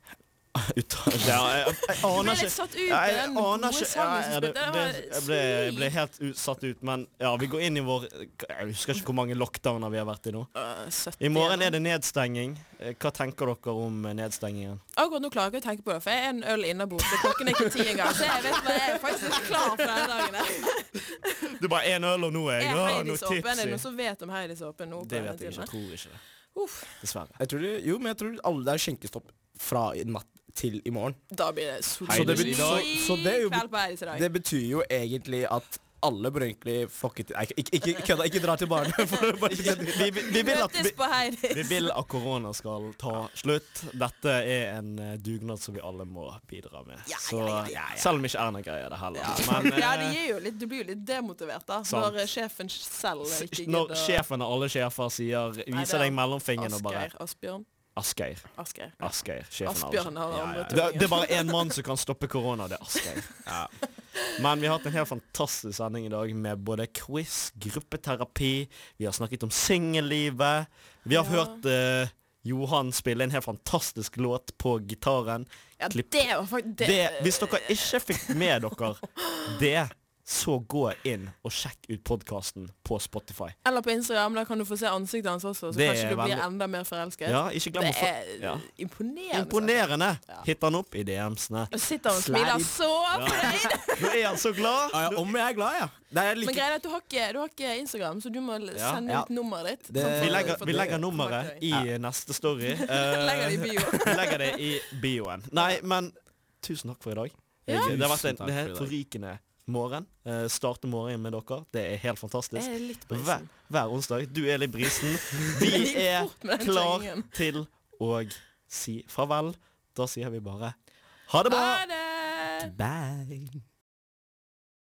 C: ut, ja, jeg, jeg
D: Du ble
C: aner
D: litt
C: ikke
D: satt ut
C: ja,
D: av
C: jeg
D: den
C: aner
D: gode
C: ikke ja,
D: sangen
C: ja,
D: som
C: det,
D: spilte.
C: det,
D: Det
C: jeg,
D: var
C: ble, jeg ble helt ut, satt ut, men ja, vi går inn i vår Jeg husker ikke hvor mange lockdowner vi har vært i nå.
D: Øh, 70
C: I morgen er det nedstenging. Eh, Hva tenker dere om eh, nedstengingen?
D: Akkurat nå klarer jeg ikke å tenke på det, for jeg er en øl innabords, og klokken er ikke ti engang. Så jeg vet hva, jeg er faktisk ikke klar for denne dagen. her.
C: Du bare én øl, og nå er jeg
D: Er
C: Å, nå
D: Heidisåpen? Er det
C: tipsy.
D: noen som vet om Heidisåpen nå? på
C: Det
D: denne
C: vet jeg ikke.
D: tiden?
C: Jeg tror ikke det.
D: Uff,
C: Dessverre.
E: Jeg tror det- Jo, men jeg tror alle Det er skjenkestopp Fra i natt til i morgen
D: da blir det
E: Så det, betyr,
D: solid
E: så, så det, er jo,
D: kveld på Heidis i dag.
E: det betyr jo egentlig at alle bør egentlig fuck it. Nei, Ikke, ikke, ikke, kødda, ikke dra til barnet. [LAUGHS] For å bare
C: vi, vi vil at vi,
D: Møtes på Heidis.
C: [LAUGHS] vi vil at korona skal ta slutt. Dette er en eh, dugnad som vi alle må bidra med. Så selv om ikke Erna greier det heller. Men eh,
D: [LAUGHS] ja, det gir jo litt, du blir jo litt demotivert da,
C: Sant.
D: når eh, sjefen selv ikke gidder
C: når
D: å-
C: sjefen av alle sjefer sier
D: Nei, det
C: Viser
D: er
C: deg mellomfingeren og bare
D: Asgeir, Asbjørn.
C: Asgeir.
D: Asgeir. ja.
C: Asgeir. Sjefen av alle
D: Asbjørn
C: sjefer.
D: har
C: Ja,
D: andre
C: ja, ja. Det,
D: to
C: det er
D: fingre.
C: bare én mann som kan stoppe korona, det er Asgeir. Men vi har hatt en helt fantastisk sending i dag med både quiz, gruppeterapi, vi har snakket om singellivet, vi har hørt eh, Johan spille en helt fantastisk låt på gitaren.
D: Ja,
C: Klipp-
D: det var faktisk... Det,
C: det, hvis dere ikke fikk med dere det, så gå inn og sjekk ut podkasten på Spotify.
D: Eller på Instagram, da kan du få se ansiktet hans også, så
C: Det
D: kanskje
C: er
D: du blir
C: veldig-
D: enda mer forelsket.
C: Ja, ikke glem å
D: det
C: få-
D: er
C: ja.
D: imponerende.
C: Imponerende! Hit han opp i DM-sene.
D: Og sitter og smiler så fornøyd.
C: Nå er han så glad!
E: Ja, ja, om jeg er glad, ja. Det er
D: Men
E: like,
D: greia er at du har ikke, du har ikke Instagram, så du må l-
C: Ja.
D: sende
C: Ja.
D: ut nummeret ditt.
C: Det,
D: sånn for-
C: vi, legger,
D: for-
C: vi legger nummeret
D: [LAUGHS]
C: i neste story. Eh,
D: Legger det i bio.
C: [LAUGHS] vi legger
D: [LAUGHS]
C: det i bioen. Nei, men tusen takk for i dag.
D: Ja.
C: Det har vært
E: Tusen
C: en
E: takk
C: det er
E: for i dag.
C: forrykende morgen. Eh, starte morgenen med dere. Det er helt fantastisk.
D: Jeg er litt brisen.
C: hver, hver onsdag. Du er litt brisen.
D: [LAUGHS]
C: Vi
D: Litt
C: er
D: fort med den
C: klar
D: slengen.
C: til å si farvel. Da sier vi bare ha det bra.
D: Ha det!
C: Bye.